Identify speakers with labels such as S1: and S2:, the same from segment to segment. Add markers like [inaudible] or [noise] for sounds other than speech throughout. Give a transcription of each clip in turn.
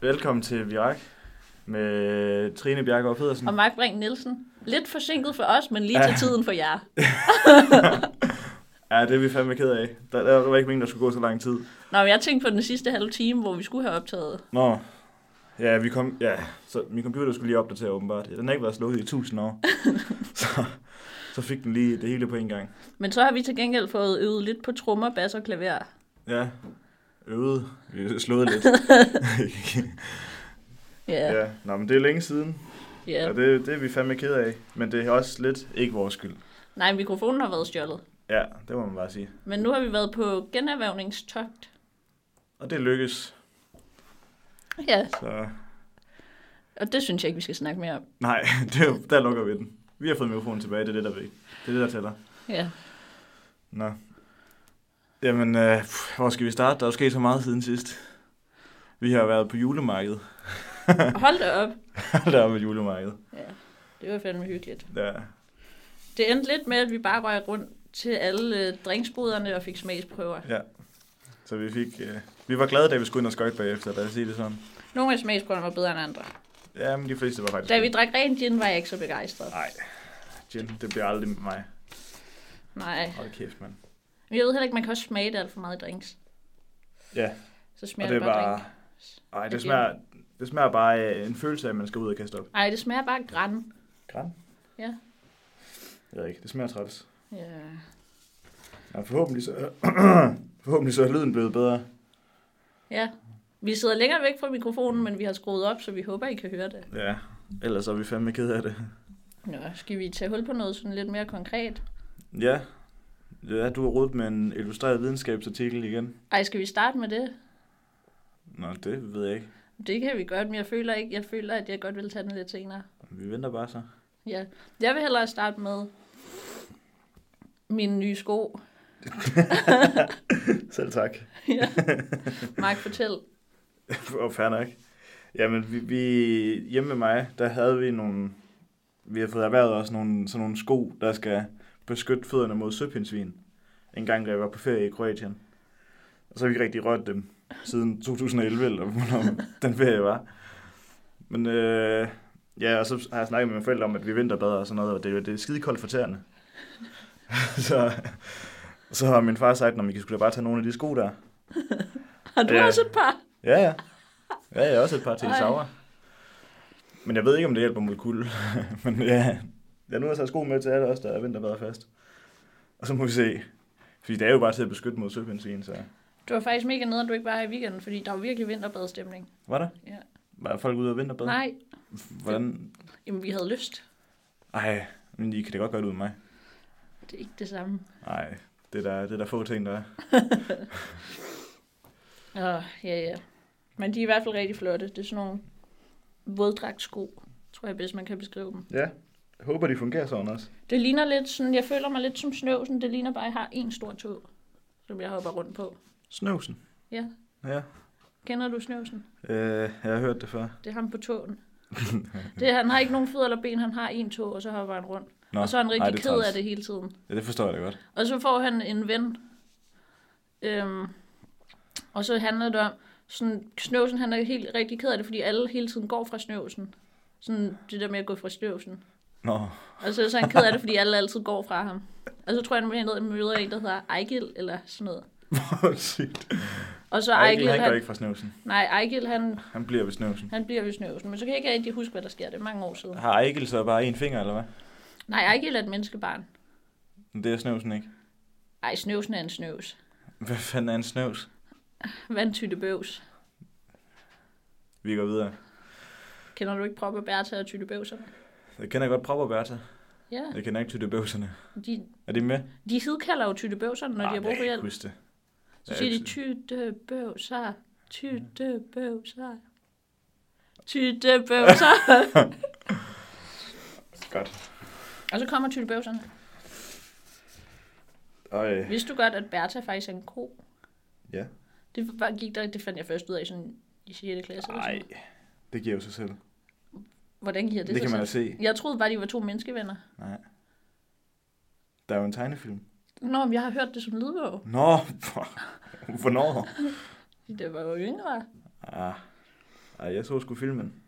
S1: Velkommen til Virak med Trine Bjergaard Pedersen.
S2: Og Mark Brink Nielsen. Lidt forsinket for os, men lige til
S1: Ja.
S2: tiden for jer.
S1: Ja, det er vi fandme ked af. Der, der var ikke meningen, der skulle gå så lang tid.
S2: Nå, men jeg tænkte på den sidste halve time, hvor vi skulle have optaget.
S1: Nå, ja, vi kom, ja, så min computer skulle lige opdatere åbenbart. Den har ikke været slået i tusind
S2: [laughs]
S1: år. så, så fik den lige det hele på en gang.
S2: Men så har vi til gengæld fået øvet lidt på trommer, bas og klaver.
S1: Ja, øvede, Vi slået lidt.
S2: [laughs] Ja,
S1: ja, nå, men det er længe siden,
S2: ja.
S1: og det, det er vi fandme ked af. Men det er også lidt ikke vores skyld.
S2: Nej, mikrofonen har været stjålet.
S1: Ja, det må man bare sige.
S2: Men nu har vi været på generhvervningstogt.
S1: Og det lykkes,
S2: Ja,
S1: så
S2: og det synes jeg ikke, vi skal snakke mere om.
S1: nej, [laughs] det, er jo- der lukker vi den. Vi har fået mikrofonen tilbage, det er det, der, vi- det, er det, der tæller.
S2: Ja.
S1: Nå. Jamen, øh, pff, hvor skal vi starte? Der er jo sket så meget siden sidst. Vi har været på julemarkedet. [laughs]
S2: Hold da op.
S1: der er på julemarkedet.
S2: Ja, det var fandme hyggeligt.
S1: Der.
S2: Det endte lidt med, at vi bare røg rundt til alle øh, drinksbruderne og fik smagsprøver.
S1: Så vi fik... Øh, vi var glade, da vi skulle ind og skøjte bagefter, lad os sige det sådan.
S2: Nogle af smagsprøverne var bedre end andre.
S1: Ja, men de fleste var faktisk...
S2: Da vi drak ren gin, var jeg ikke så begejstret.
S1: Nej, Jen, det bliver aldrig mig.
S2: Nej.
S1: Hold kæft, mand.
S2: Men jeg ved heller ikke, man kan også smage det alt for meget i drinks.
S1: Ja,
S2: Så smager
S1: og
S2: det,
S1: det
S2: det bare
S1: var...
S2: drink.
S1: Ej,
S2: Af gin.
S1: det smager, det smager bare af en følelse af, at man skal ud og kaste op.
S2: Nej, det smager bare græn.
S1: Græn?
S2: Ja.
S1: Jeg ved ikke, det smager træls.
S2: Ja.
S1: Ja, forhåbentlig så, [clears throat] forhåbentlig så er lyden blevet bedre.
S2: ja. Vi sidder længere væk fra mikrofonen, men vi har skruet op, så vi håber, I kan høre det.
S1: Ja, ellers er vi fandme ked af det.
S2: Nå, skal vi tage hul på noget sådan lidt mere konkret?
S1: Ja. Ja, du har rodet med en illustreret videnskabsartikel igen.
S2: Ej, skal vi starte med det?
S1: Nå, det ved jeg ikke.
S2: Det kan vi godt, men jeg føler, ikke, jeg føler at jeg godt vil tage den lidt senere.
S1: Vi venter bare så.
S2: Ja. Jeg vil hellere starte med mine nye sko.
S1: [laughs] Selv tak.
S2: [laughs] Ja. Mark, fortæl.
S1: Og fair nok. Jamen, vi, vi, hjemme med mig, der havde vi nogle... Vi har fået erhvervet os nogle, sådan nogle sko, der skal beskytte fødderne mod søpindsvin. En gang, da jeg var på ferie i Kroatien. Og så har vi ikke rigtig rørt dem siden 2011, eller hvornår den ferie var. Men øh, ja, og så har jeg snakket med mine forældre om, at vi vinterbader og sådan noget, og det, det er skide koldt for tæerne. [laughs] så, så har min far sagt, at vi skulle da bare tage nogle af de sko der.
S2: Har du
S1: Ja.
S2: også et par?
S1: Ja, ja. Ja, jeg har også et par
S2: Ej.
S1: tilsauer. Men jeg ved ikke, om det hjælper mod kulde. [laughs] Men ja, jeg nu har taget sko med til alle os, der er vinterbader fast. Og så må vi se. Fordi det er jo bare til at beskytte mod søbenzin, så...
S2: Du var faktisk mega nede, at du ikke var her i weekenden, fordi der var virkelig vinterbadstemning.
S1: Var der?
S2: Ja.
S1: Var folk ude og vinterbade?
S2: Nej,
S1: Hvordan?
S2: jamen vi havde lyst.
S1: Ej, men I kan det godt gøre det uden mig.
S2: Det er ikke det samme.
S1: Nej, det er der, det er der få ting, der er.
S2: Åh, ja, ja. Men de er i hvert fald rigtig flotte. Det er sådan nogle våddragtsko, tror jeg bedst, man kan beskrive dem.
S1: Ja, jeg håber, de fungerer sådan også.
S2: Det ligner lidt sådan, jeg føler mig lidt som snøv, sådan det ligner bare, at jeg har en stor tog, som jeg hopper rundt på.
S1: Snøvsen.
S2: Ja.
S1: Ja,
S2: Kender du snøvsen?
S1: øh, jeg har hørt det før.
S2: Det er ham på
S1: [laughs]
S2: tåen. det, er- han har ikke nogen fødder eller ben, han har en tog, og så hopper han rundt.
S1: Nå,
S2: og så er han rigtig
S1: ej,
S2: ej,
S1: det er
S2: ked af
S1: træls.
S2: det hele tiden.
S1: Ja, det forstår jeg da godt.
S2: Og så får han en ven. Øhm, og så handler det om, sådan, snøvsen han er helt rigtig ked af det, fordi alle hele tiden går fra snøvsen. Sådan det der med at gå fra snøvsen.
S1: Nå, [laughs]
S2: Og så er han ked af det, fordi alle altid går fra ham. Og så tror jeg, at han møder en, der hedder Ejgil, eller sådan noget.
S1: hvor sygt.
S2: Og så
S1: Ej,
S2: Ejgil,
S1: han går
S2: han,
S1: ikke fra snøvsen.
S2: nej, Ejgil, han,
S1: Han bliver ved snøvsen.
S2: han bliver ved snøvsen. Men så kan jeg ikke rigtig huske, hvad der sker. Det er mange år siden.
S1: Har Ejgil så bare en finger, eller hvad?
S2: Nej, Ejgil er et menneskebarn.
S1: Men Det er snøvsen ikke.
S2: Ej, snøvsen er en snøvs.
S1: Hvad fanden er en snøvs?
S2: Vandtytte bøvs.
S1: Vi går videre.
S2: Kender du ikke Prop og Bertha og Tytte Bøvserne?
S1: Jeg kender godt Prop og Bertha.
S2: Ja,
S1: Jeg kender ikke Tytte Bøvserne.
S2: de,
S1: Er det med? Ah,
S2: De hidkalder jo tytte bøvserne, når de har brug for
S1: jeg kan
S2: hjælp.
S1: ikke huske det. Øh,
S2: Så siger de
S1: ikke-
S2: tytte bøvser, tytte bøvser, tytte
S1: [laughs]
S2: bøvser.
S1: Godt.
S2: og så kommer tytte bøvserne.
S1: Øj.
S2: Vidste du godt, at Bertha faktisk er en ko?
S1: Ja.
S2: Det, var, gik der, det fandt jeg først ud af sådan, i 6. klasse. eller sådan
S1: Ej.
S2: noget.
S1: Det giver jo sig selv.
S2: Hvordan giver det,
S1: Det kan
S2: sig
S1: man da
S2: selv?
S1: se.
S2: Jeg troede bare, de var to menneskevenner.
S1: Nej. Der er jo en tegnefilm.
S2: Nå, men jeg har hørt det som lydbog.
S1: Nå, hvornår?
S2: Det var jo yngre.
S1: Ah. Ej, jeg så sgu filmen.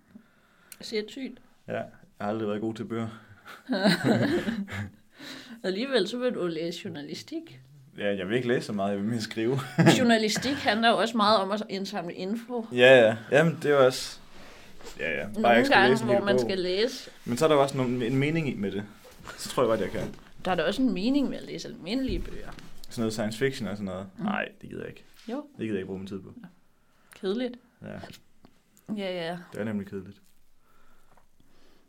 S2: Sindssygt.
S1: Ja, jeg har aldrig været god til bøger.
S2: Alligevel så vil du læse
S1: [laughs]
S2: journalistik.
S1: Ja, jeg vil ikke læse så meget, jeg vil mere skrive.
S2: Journalistik handler jo også meget om at indsamle info.
S1: ja, ja. Jamen, det er jo også... Ja, ja. Bare jeg
S2: Nogle
S1: ikke skal
S2: gange,
S1: læse en hel
S2: hvor man
S1: bog.
S2: skal læse.
S1: Men så er der jo også nogle, en mening i med det. Så tror jeg godt, jeg kan.
S2: Der er da også en mening med at læse almindelige bøger.
S1: Sådan noget science fiction og sådan noget.
S2: Mm.
S1: Nej, det gider jeg ikke.
S2: Jo.
S1: Det gider jeg ikke bruge min tid på.
S2: Kedeligt.
S1: Ja,
S2: Ja, ja.
S1: det er nemlig kedeligt.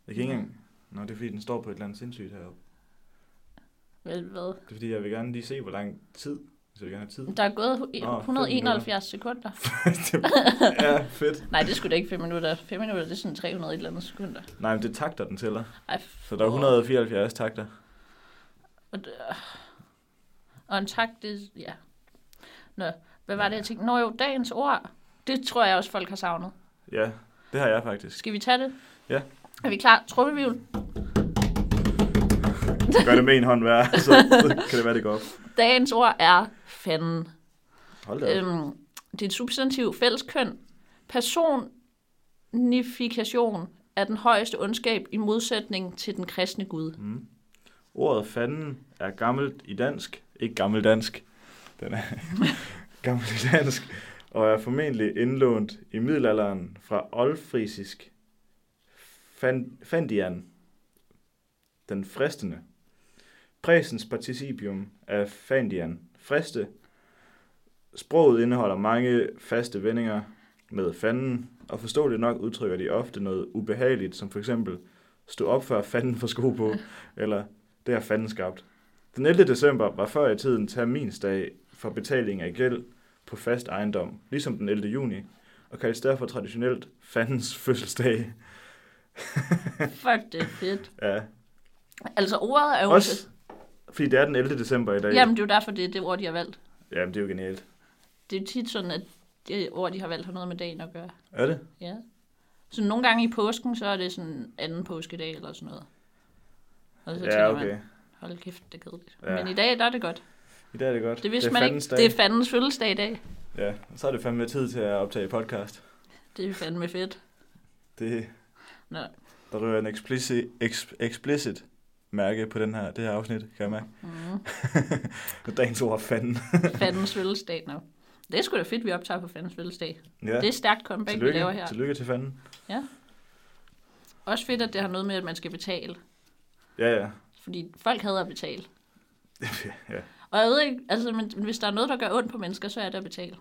S1: Jeg kan ikke engang... Nå, det er fordi, den står på et eller andet sindssygt heroppe.
S2: Vel, hvad?
S1: Det er fordi, jeg vil gerne lige se, hvor lang tid. Så jeg vil gerne have tid.
S2: Der er
S1: [laughs]
S2: gået hu-
S1: Nå, fem
S2: 171 sekunder.
S1: ja, fedt.
S2: Nej, det skulle da ikke 5 minutter. 5 minutter, det er sådan 300 et eller andet sekunder.
S1: Nej, men det er takter, den tæller.
S2: Ej,
S1: Så der er
S2: for-
S1: 174 takter.
S2: Og, d- og en tak, det... Ja. Nå, hvad var det, jeg tænkte? Nå jo, dagens ord. Det tror jeg også, folk har savnet.
S1: Ja, det har jeg faktisk.
S2: Skal vi tage det?
S1: Ja.
S2: Er vi klar? Trummevivl.
S1: Gør det med en hånd hver, så, så kan det være, det går op.
S2: Dagens ord er fanden.
S1: Hold da op.
S2: Øhm, det er et substantiv fælleskøn. Personifikation er den højeste ondskab i modsætning til den kristne Gud.
S1: Mm. Ordet fanden er gammelt i dansk, ikke gammeldansk, den er gammel i dansk, og er formentlig indlånt i middelalderen fra oldfrisisk fan, fandian, den fristende. Præsens participium er fandian, friste. Sproget indeholder mange faste vendinger med fanden, og forståeligt nok udtrykker de ofte noget ubehageligt, som for eksempel stå op før fanden for sko på, eller det har fanden skabt. Den 11. december var før i tiden terminsdag for betaling af gæld på fast ejendom, ligesom den 11. juni, og kaldes derfor traditionelt fandens fødselsdag.
S2: Fuck, det er fedt.
S1: Ja.
S2: Altså ordet er jo...
S1: Også fordi det er den 11. december i dag.
S2: Jamen, det er jo derfor, det er det ord, de har valgt.
S1: Jamen det er jo genialt.
S2: Det er tit sådan, at det ord, de har valgt, har noget med dagen at gøre.
S1: Er det?
S2: Ja. Så nogle gange i påsken, så er det sådan anden påskedag eller sådan noget. Og så
S1: Ja,
S2: tænker man,
S1: okay.
S2: hold kæft, det er kedeligt.
S1: Ja.
S2: Ja. Men i dag, der er det godt.
S1: I dag er det godt.
S2: Det vidste
S1: er
S2: man
S1: fandens
S2: ikke.
S1: dag.
S2: Det er fandens fødselsdag i dag.
S1: Ja, og så er det fandme tid til at optage podcast.
S2: Det er fandme fedt.
S1: Det,
S2: Nå.
S1: der rører en explicit, ex, explicit mærke på den her, det her afsnit, kan jeg mærke. [laughs]
S2: Mm.
S1: Dagens ord er fanden.
S2: [laughs] Fandens fødselsdag, nå. Det er sgu da fedt, vi optager på fandens fødselsdag.
S1: Ja.
S2: Ja. Det er stærkt comeback, Tillykke. vi laver her.
S1: Tillykke. Tillykke til fanden.
S2: Også fedt, at det har noget med, at man skal betale.
S1: Ja, ja. [laughs]
S2: Fordi folk hader at betale.
S1: ja.
S2: Og jeg ved ikke, altså, men hvis der er noget, der gør ondt på mennesker, så er det at betale.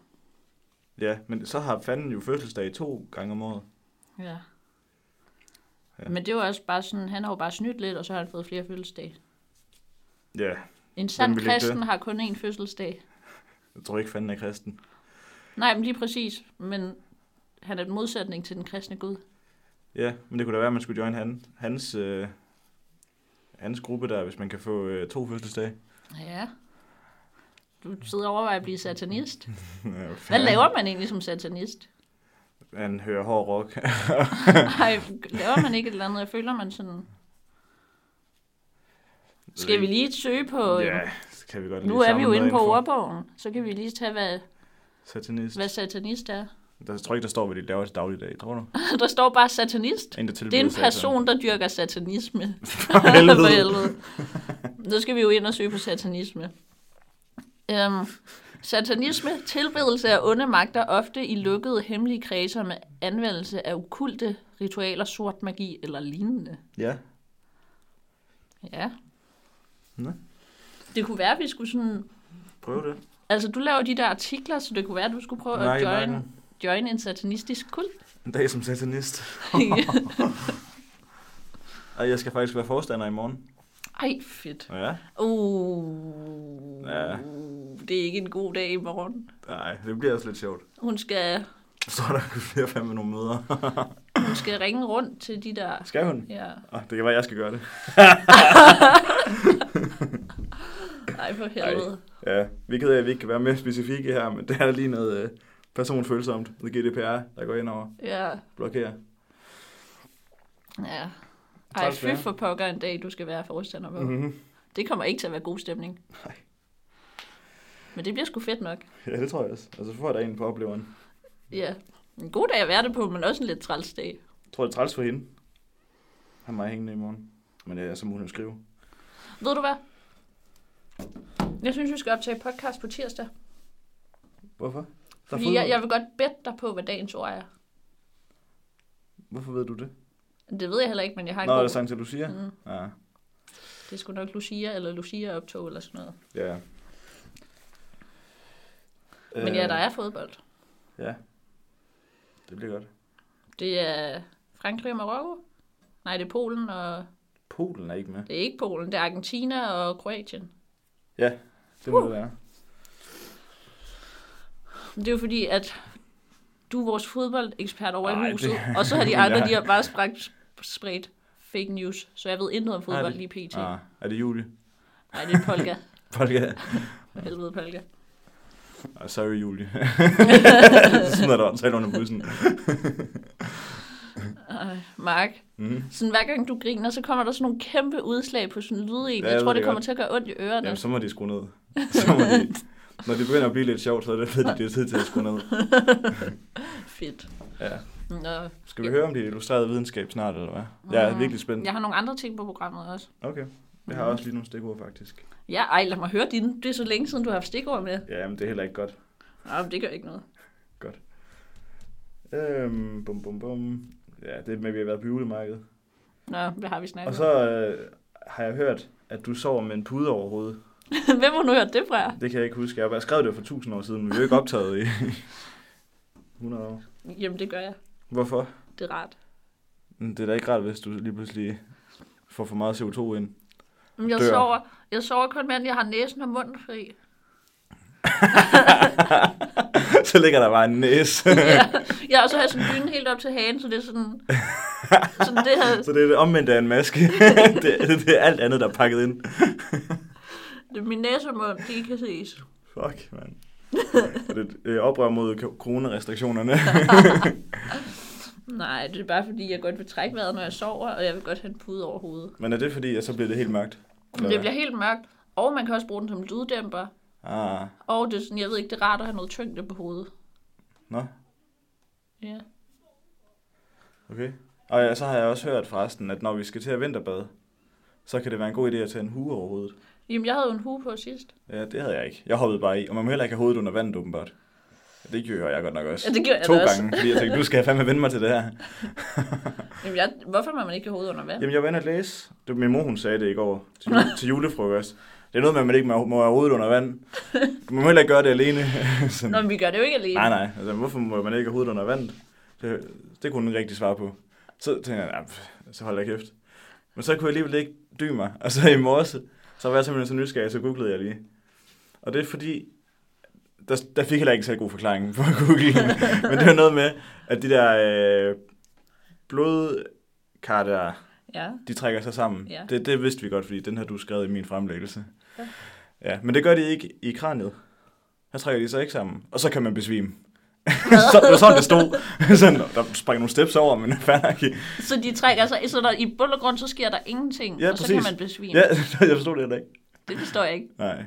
S1: Ja, men så har fanden jo fødselsdag to gange om året.
S2: Ja.
S1: Ja.
S2: ja. Men det var også bare sådan, han har jo bare snydt lidt, og så har han fået flere fødselsdage.
S1: Ja,
S2: En sand
S1: ville ikke det?
S2: kristen har kun én fødselsdag.
S1: jeg tror ikke, fanden er kristen.
S2: Nej, men lige præcis. Men han er en modsætning til den kristne Gud.
S1: Ja, men det kunne da være, at man skulle join han, hans, øh, hans gruppe der, hvis man kan få øh, to fødselsdage. [laughs]
S2: Ja. Du sidder og overvejer at blive [laughs] satanist.
S1: Ja,
S2: Hvad
S1: fanden.
S2: laver man egentlig som satanist?
S1: Han hører hård rock.
S2: Nej, laver man ikke et eller andet? Jeg føler man sådan... Skal vi lige søge på... øh,
S1: Ja, ligesom så kan vi godt
S2: nu
S1: lige
S2: er vi
S1: samle
S2: jo
S1: noget
S2: inde på
S1: info.
S2: ordbogen, så kan vi lige tage, hvad,
S1: Satanist.
S2: hvad satanist er. [laughs]
S1: Der tror ikke, der står, hvad de laver til dagligdag, tror du?
S2: Der står bare satanist.
S1: En, der
S2: Det er
S1: tilbyder
S2: en
S1: satan.
S2: person, der dyrker satanisme.
S1: [laughs] For helvede.
S2: [laughs] For helvede. Nu skal vi jo ind og søge på satanisme. Øhm, satanisme, tilbedelse af onde magter, ofte i lukkede hemmelige kredser med anvendelse af okulte ritualer, sort magi eller lignende.
S1: Ja.
S2: Ja.
S1: Nå.
S2: Det kunne være, at vi skulle sådan...
S1: Prøv det.
S2: Altså, du laver de der artikler, så det kunne være, at du skulle prøve
S1: Nej,
S2: at join,
S1: nej.
S2: join en
S1: [laughs]
S2: satanistisk kult.
S1: En dag som satanist. Ej, jeg skal faktisk være forstander i morgen.
S2: Ej, fedt.
S1: Nå Ja.
S2: Uh,
S1: Ja.
S2: Det er ikke en god dag i morgen.
S1: Nej, det bliver også lidt sjovt.
S2: Hun skal,
S1: Så er der [laughs] flere fandme nogle møder.
S2: hun skal ringe rundt til de der...
S1: Skal hun?
S2: Ja.
S1: Oh, det kan være, jeg skal gøre det.
S2: Ej, for helvede.
S1: Ja, vi er ked af, at vi ikke kan være mere specifikke her, men det er lige noget øh, personfølsomt. Noget GDPR, der går ind og
S2: Ja.
S1: blokerer.
S2: ja. Ej,
S1: Tak skal du
S2: fy
S1: have.
S2: for pokker en dag, du skal være forstander på. Mm-hmm.
S1: Mm-hmm.
S2: Det kommer ikke til at være god stemning.
S1: Nej.
S2: Men det bliver sgu fedt nok.
S1: Altså, Ja, det tror jeg også. Og så får jeg da en på opleveren.
S2: Ja. En god dag at være det på, men også en lidt træls dag.
S1: Jeg tror, det er træls for hende. Han mig hængende i morgen. Men det er så muligt at skrive.
S2: Ved du hvad? Jeg synes, vi skal optage podcast på tirsdag.
S1: Hvorfor? Der er
S2: Fordi
S1: fodbold.
S2: jeg, jeg vil godt bedte dig på, hvad dagens ord er.
S1: Hvorfor ved du det?
S2: Det ved jeg heller ikke, men jeg har en
S1: Nå, altså- er
S2: god...
S1: det Santa Lucia?
S2: Mm.
S1: Ja.
S2: Det er sgu nok Lucia eller Lucia-optog eller sådan noget.
S1: ja.
S2: Øh... Men ja, der er fodbold.
S1: Ja. Øh, Det bliver godt.
S2: Det er Frankrig og Marokko. Nej, det er Polen og...
S1: Polen er ikke med.
S2: Det er ikke Polen, det er Argentina og Kroatien.
S1: Ja, det må
S2: Uh.
S1: det være.
S2: Det er jo fordi, at du er vores fodboldekspert over
S1: Ej,
S2: i
S1: det-
S2: huset, det... og så har de andre,
S1: [laughs] Ja.
S2: de har bare spredt, spredt fake news, så jeg ved intet om fodbold
S1: det-
S2: lige pt.
S1: Ah, er det Julie?
S2: Nej, det er polka.
S1: Podcast.
S2: For helvede polka.
S1: [laughs] Ah, sorry, Julie. [laughs] så smider du åndssat under bussen.
S2: Ej, Mark,
S1: Mm.
S2: sådan, hver gang du griner, så kommer der sådan nogle kæmpe udslag på sådan en lyd i.
S1: Ja, jeg
S2: Jeg tror,
S1: ved
S2: det
S1: det
S2: kommer
S1: godt.
S2: til at gøre ondt i ørerne.
S1: Jamen, så må de skrue ned. [laughs] Så må de... Når det begynder at blive lidt sjovt, så er det, ved de, det er tid til at skrue ned.
S2: Fedt.
S1: Ja.
S2: Nå.
S1: Skal vi høre om det illustrerede videnskab snart, eller hvad? Jeg er
S2: Mm.
S1: virkelig spændt.
S2: Jeg har nogle andre ting på programmet også.
S1: Okay. Jeg har også lige nogle stikord, faktisk.
S2: Ja, ej, lad mig høre dine. Det er så længe siden, du har haft stikord med.
S1: Ja, men det er heller ikke godt.
S2: Nej, men det gør ikke noget.
S1: Øhm, bum, bum, bum. Ja, det er med, at vi har været på julemarkedet.
S2: Nå, hvad har vi
S1: Og
S2: snakket om?
S1: så øh, har jeg hørt, at du sover med en pude over hovedet.
S2: [laughs] Hvem har nu hørt det fra?
S1: Det kan jeg ikke huske. Jeg har bare skrevet det for tusind år siden, men vi er jo ikke optaget i [laughs] 100 år.
S2: Jamen, det gør jeg.
S1: Hvorfor?
S2: Det er rart.
S1: Men Det er da ikke rart, hvis du lige pludselig får for meget CO2 ind.
S2: Men jeg,
S1: Dør.
S2: sover, jeg sover kun, mens jeg har næsen og munden
S1: [laughs]
S2: fri.
S1: [laughs] så ligger der bare en næse.
S2: ja. Jeg har så har sådan dynen helt op til hagen, så det er
S1: [laughs]
S2: sådan... sådan det her,
S1: så det er det omvendte af en [laughs] maske. det, det, det, er alt andet, der er pakket ind.
S2: det er min næse og mund, de ikke kan ses.
S1: Fuck, mand. Og det øh, oprør mod ko- coronarestriktionerne. [laughs]
S2: Nej, det er bare fordi, jeg godt vil trække vejret, når jeg sover, og jeg vil godt have en pude over hovedet.
S1: Men er det fordi, at så bliver det helt mørkt?
S2: Men det bliver helt mørkt, og man kan også bruge den som lyddæmper.
S1: Ah,
S2: Og det er sådan, jeg ved ikke, det er rart at have noget tyngde på hovedet.
S1: nå,
S2: Ja.
S1: okay. Og ja, så har jeg også hørt forresten, at når vi skal til at vinterbade, så kan det være en god idé at tage en hue over hovedet.
S2: Jamen, jeg havde jo en hue på sidst.
S1: Ja, det havde jeg ikke. Jeg hoppede bare i, og man må heller ikke have hovedet under vandet, åbenbart. Det gjorde jeg godt nok også.
S2: Ja, det gjorde jeg
S1: to
S2: da også.
S1: gange, fordi jeg tænkte, nu skal jeg fandme vende mig til det her.
S2: Jamen, jeg, hvorfor må man ikke have hovedet under vand?
S1: Jamen, jeg var inde og læse. Det, min mor, hun sagde det i går til, jule, til julefrokost. Det er noget med, at man ikke må, må have hovedet under vand. Du må heller ikke gøre det alene. [laughs] Sådan.
S2: Nå, men vi gør det jo ikke alene.
S1: Nej, nej. Altså, hvorfor må man ikke have hovedet under vand? Det, det kunne hun ikke rigtig svare på. Så tænkte jeg, "Nah, pff, så hold da kæft. Men så kunne jeg alligevel ikke dy mig. [laughs] Og så i morges, så var jeg simpelthen så nysgerrig, så googlede jeg lige. Og det er fordi, der, der fik heller ikke en særlig god forklaring på Google. Men det var noget med, at de der øh, blodkar der,
S2: Ja.
S1: de trækker sig sammen.
S2: Ja.
S1: Det, det vidste vi godt, fordi den har du skrevet i min fremlæggelse.
S2: Ja.
S1: Ja. ja. Men det gør de ikke i kraniet. Her trækker de sig ikke sammen, og så kan man besvime. [laughs] så, det var sådan, det stod. sådan, der sprang nogle steps over, men fanden ikke.
S2: Så de trækker sig, så der, i bund og grund, så sker der ingenting,
S1: Ja,
S2: og så
S1: præcis.
S2: kan man besvime.
S1: Ja, [laughs] jeg forstod det heller ikke.
S2: Det forstår jeg ikke.
S1: Nej.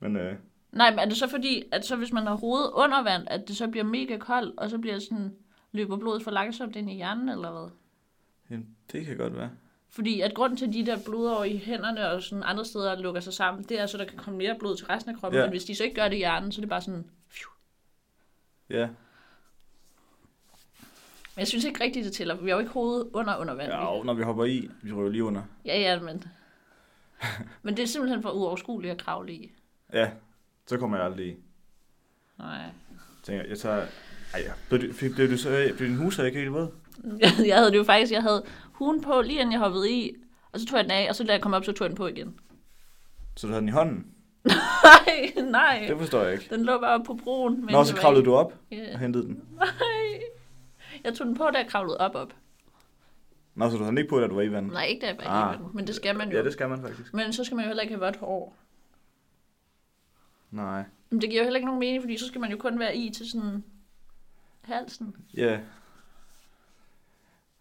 S1: Men øh,
S2: Nej, men er det så fordi, at så hvis man har hovedet under vand, at det så bliver mega koldt, og så bliver sådan, løber blodet for langsomt ind i hjernen, eller hvad?
S1: jamen, det kan godt være.
S2: Fordi at grunden til, at de der blodår i hænderne og sådan andre steder lukker sig sammen, det er så, der kan komme mere blod til resten af kroppen.
S1: Ja.
S2: Men hvis de så ikke gør det i hjernen, så er det bare sådan... Phew.
S1: Ja.
S2: Men jeg synes ikke rigtigt, det tæller, for vi har jo ikke hovedet under under vand.
S1: ja og når vi hopper i, vi røver lige under.
S2: ja, ja, men... men det er simpelthen for uoverskueligt at kravle i.
S1: Ja, så kommer jeg aldrig i.
S2: Nej.
S1: Tænker, jeg tager... Ej, ja. Blev, du, fik, blev, du så, blev din hus ikke helt våd?
S2: Jeg, [laughs] jeg havde det jo faktisk, jeg havde huden på, lige inden jeg hoppede i, og så tog jeg den af, og så da jeg kom op, så tog jeg den på igen. [laughs]
S1: Så du havde den i hånden?
S2: Nej, nej.
S1: Det forstår jeg ikke.
S2: Den lå bare på broen. Men
S1: Nå, så kravlede du op
S2: Ja. [laughs]
S1: og hentede den.
S2: Nej. Jeg tog den på, da jeg kravlede op op.
S1: Nå, så du havde den ikke på, da du var i vandet?
S2: Nej, ikke da jeg var
S1: Ah.
S2: ah. den, men det skal man jo.
S1: Ja, det skal man faktisk.
S2: Men så skal man jo heller ikke have vådt hår.
S1: Nej.
S2: Men det giver jo heller ikke nogen mening, fordi så skal man jo kun være i til sådan halsen.
S1: Ja.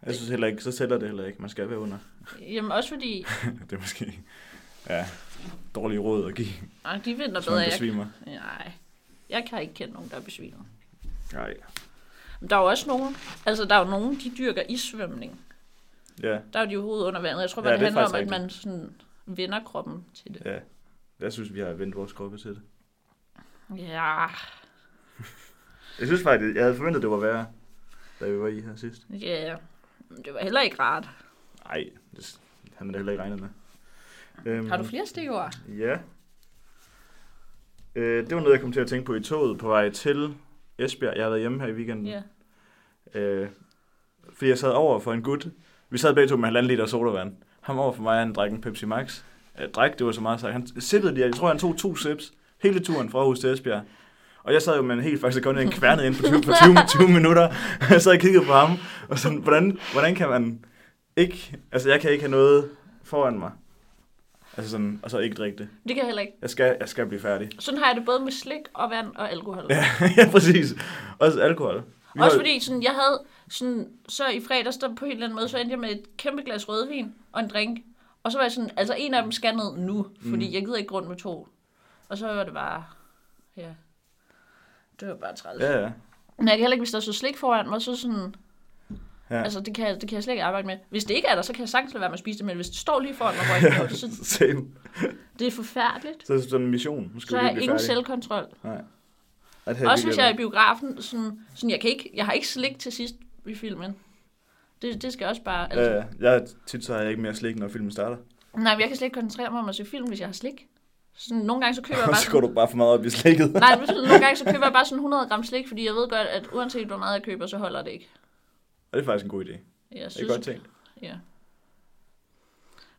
S1: Jeg synes heller ikke, så tæller det heller ikke. Man skal være under. [laughs]
S2: Jamen også fordi,
S1: det er måske... Ja, dårlige råd at give,
S2: nej, de vinder
S1: hvis
S2: bedre.
S1: man
S2: Jeg,
S1: besvimer.
S2: nej, jeg kan ikke kende nogen, der er besvimet.
S1: Nej.
S2: Men Der er jo også nogen, altså der er jo nogen, de dyrker isvømning.
S1: Ja,
S2: Der er de jo hovedet under vandet. Jeg tror,
S1: Ja,
S2: ja, det
S1: det er
S2: handler om, at
S1: faktisk
S2: man sådan vender kroppen til det.
S1: ja. Jeg synes, vi har vendt vores kroppe til det.
S2: Ja,
S1: Jeg synes faktisk, jeg havde forventet, det var værre, da vi var i her sidst.
S2: ja. Men Det var heller ikke rart.
S1: Nej, det havde man da heller ikke regnet med. Øhm,
S2: Har du flere stikord?
S1: Ja. Øh, det var noget, jeg kom til at tænke på i toget på vej til Esbjerg. Jeg har været hjemme her i weekenden.
S2: Ja.
S1: Øh, fordi jeg sad over for en gut. Vi sad begge to med halvanden liter sodavand. Ham over for mig, han drak en Pepsi Max. Jeg drak, det var så meget sagt. Han sippede lige, jeg tror, han tog to sips hele turen fra Aarhus til Esbjerg. Og jeg sad jo med en helt faktisk kun en kværnet ind på 20, på 20,
S2: [laughs]
S1: 20 minutter. Jeg sad og kiggede på ham, og sådan, hvordan, hvordan kan man ikke... Altså, jeg kan ikke have noget foran mig. Altså sådan, og så ikke drikke det.
S2: Det kan jeg heller ikke.
S1: Jeg skal, jeg skal blive
S2: [laughs]
S1: færdig.
S2: Sådan har jeg det både med slik og vand og alkohol.
S1: Ja, ja præcis. Også alkohol. Vi
S2: Også
S1: har-
S2: fordi sådan, jeg havde sådan, så i fredags, der på en eller anden måde, så endte jeg med et kæmpe glas rødvin og en drink. Og så var jeg sådan, altså en af dem skal ned nu, fordi mm. jeg gider ikke rundt med to. Og så var det bare, ja, det var bare træls. Ja.
S1: Ja, ja.
S2: Men jeg kan heller ikke, hvis der er så slik foran mig, så sådan,
S1: Ja.
S2: ja. altså det kan, jeg- det kan jeg slet ikke arbejde med. Hvis det ikke er der, så kan jeg sagtens lade være med at spise det, men hvis det står lige foran mig, hvor jeg ikke kan nå det, så
S1: [laughs] Same.
S2: det er forfærdeligt.
S1: Så er det sådan en mission. Nu skal
S2: Så
S1: vi
S2: har
S1: lige
S2: jeg
S1: blive
S2: ingen
S1: færdige.
S2: selvkontrol.
S1: Nej. At have
S2: Også hvis jeg er i biografen, sådan, sådan jeg, kan ikke, jeg har ikke slik til sidst i filmen. Det, det skal også bare... Altså,
S1: Ja, ja. jeg, tit så har jeg ikke mere slik, når filmen starter.
S2: Nej, men jeg kan slet ikke koncentrere mig om at se film, hvis jeg har slik. Sådan, nogle gange så
S1: [laughs]
S2: køber jeg
S1: Og
S2: bare
S1: så går
S2: sådan,
S1: du bare for meget op i slikket. [laughs]
S2: Nej, men sådan, nogle gange så køber jeg bare sådan 100 gram slik, fordi jeg ved godt, at uanset hvor meget jeg køber, så holder det ikke.
S1: Og det er faktisk en god idé.
S2: Jeg
S1: Det er
S2: synes,
S1: godt tænkt.
S2: Ja.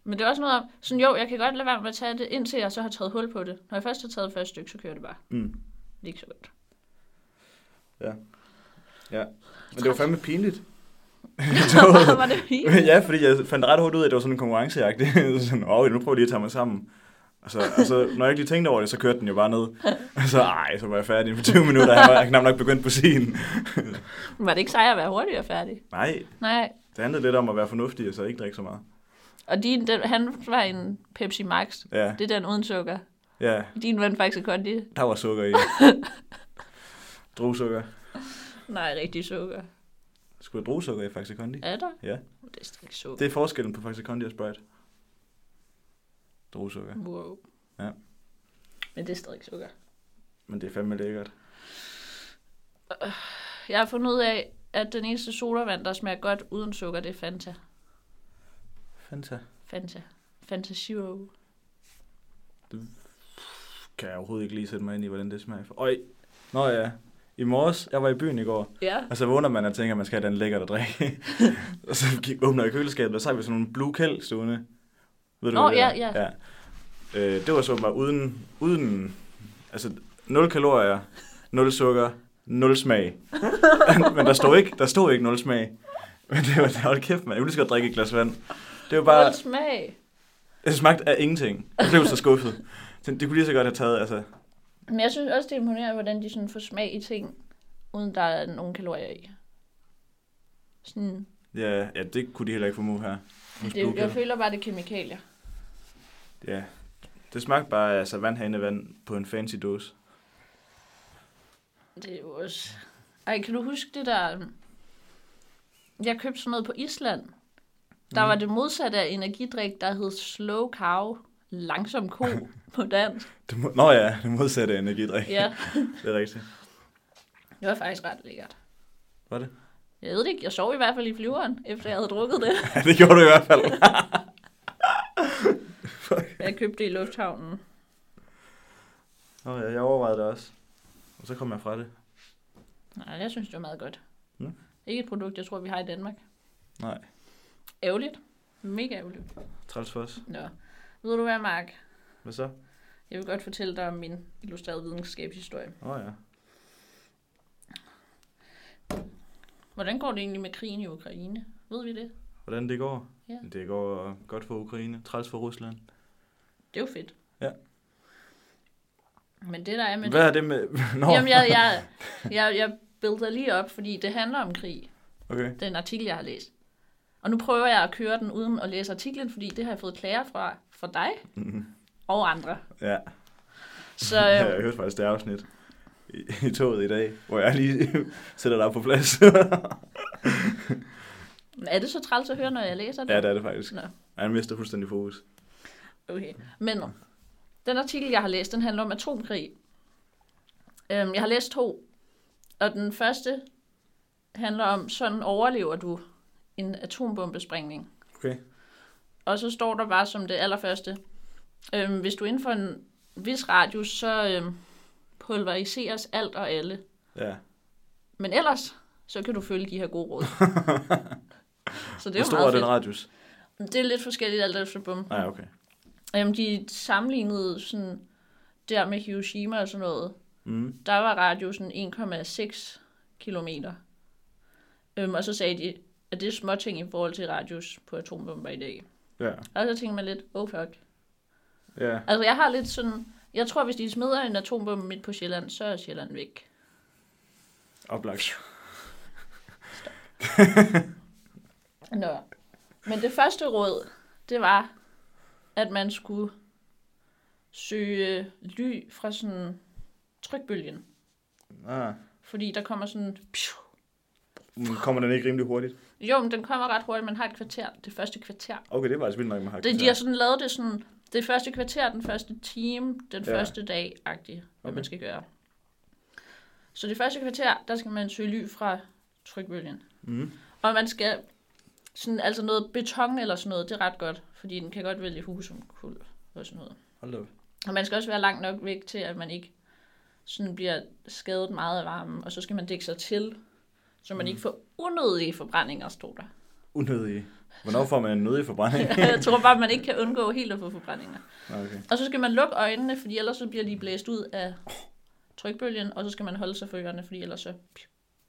S2: Men det er også noget om, sådan jo, jeg kan godt lade være med at tage det, indtil jeg så har taget hul på det. Når jeg først har taget første stykke, så kører det bare.
S1: Mm.
S2: Det er ikke så godt. [laughs]
S1: Men det var fandme pinligt. [laughs]
S2: Så var det fint.
S1: ja, fordi jeg fandt ret hurtigt ud af, at det var sådan en konkurrencejagt. [laughs] sådan, åh, nu prøver jeg lige at tage mig sammen. Og så, og så, når jeg ikke lige tænkte over det, så kørte den jo bare
S2: [laughs]
S1: ned. Og så, ej, så var jeg færdig inden for 20 minutter. Jeg var jeg knap nok begyndt på scenen.
S2: Var det ikke sejt at være hurtig og færdig?
S1: Nej,
S2: Nej.
S1: det handlede lidt om at være fornuftig, og så ikke drikke så meget.
S2: Og din, den, han var en Pepsi Max.
S1: Ja,
S2: Det er den uden sukker.
S1: ja,
S2: Din var en faktisk en kondi.
S1: der var
S2: [laughs]
S1: sukker i. Druesukker.
S2: Nej, rigtig sukker.
S1: Skulle jeg druesukker i faktisk kondi?
S2: Er der?
S1: Ja.
S2: Det er slet ikke sukker.
S1: Det er forskellen på faktisk Kondi og Sprite. Druesukker.
S2: Wow.
S1: Ja.
S2: Men det er stadig sukker.
S1: Men det er fandme lækkert.
S2: Jeg har fundet ud af, at den eneste sodavand, der smager godt uden sukker, det er Fanta.
S1: Fanta.
S2: Fanta. Fanta Zero.
S1: Kan jeg overhovedet ikke lige sætte mig ind i, hvordan det smager. For... Øj. Nå ja. I morges, jeg var i byen i går,
S2: Ja.
S1: og så vågner man og tænker, at man skal have den lækkert at
S2: [laughs]
S1: drikke. og så gik, åbner jeg køleskabet, og så har vi sådan nogle blue kæld stående. Ved du,
S2: Nå,
S1: hvad det
S2: ja,
S1: er? ja. Øh, det var så bare uden, uden, altså 0 kalorier, 0 sukker, 0
S2: [laughs]
S1: smag. Men der stod ikke, der stod ikke 0 smag. Men det var, hold kæft, man. Jeg ville lige så godt drikke et glas vand. Det var bare,
S2: Bare... smag.
S1: Det smagte af ingenting. Jeg blev så skuffet. Det det kunne lige så godt have taget, altså.
S2: Men jeg synes også, det er imponerende, hvordan de sådan får smag i ting, uden der er nogen kalorier i. Sådan,
S1: Ja, ja det kunne de heller ikke formå her. hos Blue
S2: det, jeg
S1: Cat.
S2: føler bare, det er kemikalier.
S1: Ja. Det smagte bare altså, vandhanevand på en fancy dåse.
S2: Det er jo også... Ej, kan du huske det der... øhm, Jeg købte sådan noget på Island. Der
S1: Mm.
S2: var det modsatte af energidrik, der hed Slow Cow, langsom
S1: [laughs]
S2: ko på dansk.
S1: Det må, nå ja, det modsatte af energidrik.
S2: Ja,
S1: Det er rigtigt.
S2: det var faktisk ret lækkert.
S1: Var det?
S2: Jeg ved det ikke, jeg sov i hvert fald i flyveren, efter jeg havde drukket det. [laughs]
S1: Ja, det gjorde du i hvert fald.
S2: Jeg købte det i lufthavnen.
S1: Nå ja, jeg overvejede det også. Og så kom jeg fra det.
S2: Nej, jeg synes, det var meget godt.
S1: Ja.
S2: Ikke et produkt, jeg tror, vi har i Danmark.
S1: Nej,
S2: Ærgerligt. Mega ærgerligt.
S1: træls for os.
S2: Nå. Ved du hvad, Mark?
S1: Hvad så?
S2: Jeg vil godt fortælle dig om min illustrerede videnskabshistorie.
S1: Nå ja.
S2: Hvordan går det egentlig med krigen i Ukraine? Ved vi det?
S1: Hvordan det går?
S2: Ja.
S1: Det går godt for Ukraine. Træls for Rusland.
S2: Det er jo fedt.
S1: Ja.
S2: Men det der er med
S1: Hvad
S2: det...
S1: er det med... [laughs] Nå,
S2: Jamen, jeg, jeg, jeg, jeg builder lige op, fordi det handler om krig.
S1: okay.
S2: Den artikel, jeg har læst. Og nu prøver jeg at køre den uden at læse artiklen, fordi det har jeg fået klager fra, fra dig og andre.
S1: Mm-hmm.
S2: øhm,
S1: Ja.
S2: Så øh,
S1: [laughs] Ja, jeg hørte faktisk det afsnit i, i toget i dag, hvor jeg lige [laughs] sætter dig på plads. [laughs]
S2: Er det så træls at høre, når jeg læser det?
S1: ja, det er det faktisk.
S2: Nå,
S1: Han mister fuldstændig fokus.
S2: okay.
S1: Mm.
S2: Men den artikel, jeg har læst, den handler om atomkrig. Øhm, jeg har læst to, og den første handler om, sådan overlever du en atombombesprængning.
S1: Okay.
S2: Og så står der bare som det allerførste, øhm, hvis du er inden for en vis radius, så øhm, pulveriseres alt og alle.
S1: Ja.
S2: Men ellers, så kan du følge de her gode
S1: [laughs]
S2: råd. så det er
S1: Hvor
S2: jo
S1: stor er
S2: meget
S1: den
S2: fedt.
S1: radius?
S2: Det er lidt forskelligt alt efter bum.
S1: Nej, okay.
S2: Jamen, de sammenlignede sådan der med Hiroshima og sådan noget.
S1: Mm.
S2: Der var radiusen 1,6 kilometer. Øhm, og så sagde de, at det er småting i forhold til radius på atombomber i dag.
S1: Ja.
S2: Og så tænkte man lidt, oh fuck.
S1: Ja.
S2: Altså, jeg har lidt sådan... Jeg tror, hvis de smider en atombombe midt på Sjælland, så er Sjælland væk.
S1: Oplagt.
S2: Nå. Men det første råd, det var, at man skulle søge ly fra sådan trykbølgen.
S1: Ah.
S2: Fordi der kommer sådan... Pshu.
S1: Men Kommer den ikke rimelig hurtigt?
S2: Jo, men den kommer ret hurtigt. Man har et kvarter. Det første kvarter.
S1: Okay, det var altså vildt nok med hak.
S2: Det, de har sådan lavet det sådan... Det første kvarter, den første time, den
S1: Ja.
S2: ja. første dag-agtigt, hvad
S1: Okay.
S2: man skal gøre. Så det første kvarter, der skal man søge ly fra trykbølgen.
S1: Mm.
S2: Og man skal sådan, altså noget beton eller sådan noget, det er ret godt, fordi den kan godt vælge husumkuld og sådan noget.
S1: Hold da op.
S2: Og man skal også være langt nok væk til, at man ikke sådan bliver skadet meget af varmen, og så skal man dække sig til, så man mm. ikke får unødige forbrændinger, stod der.
S1: Unødige. Hvornår får man en nødig forbrænding?
S2: [laughs] Jeg tror bare, man ikke kan undgå helt at få forbrændinger.
S1: Nå, okay.
S2: Og så skal man lukke øjnene, fordi ellers så bliver de blæst ud af trykbølgen, og så skal man holde sig for ørerne, fordi ellers så...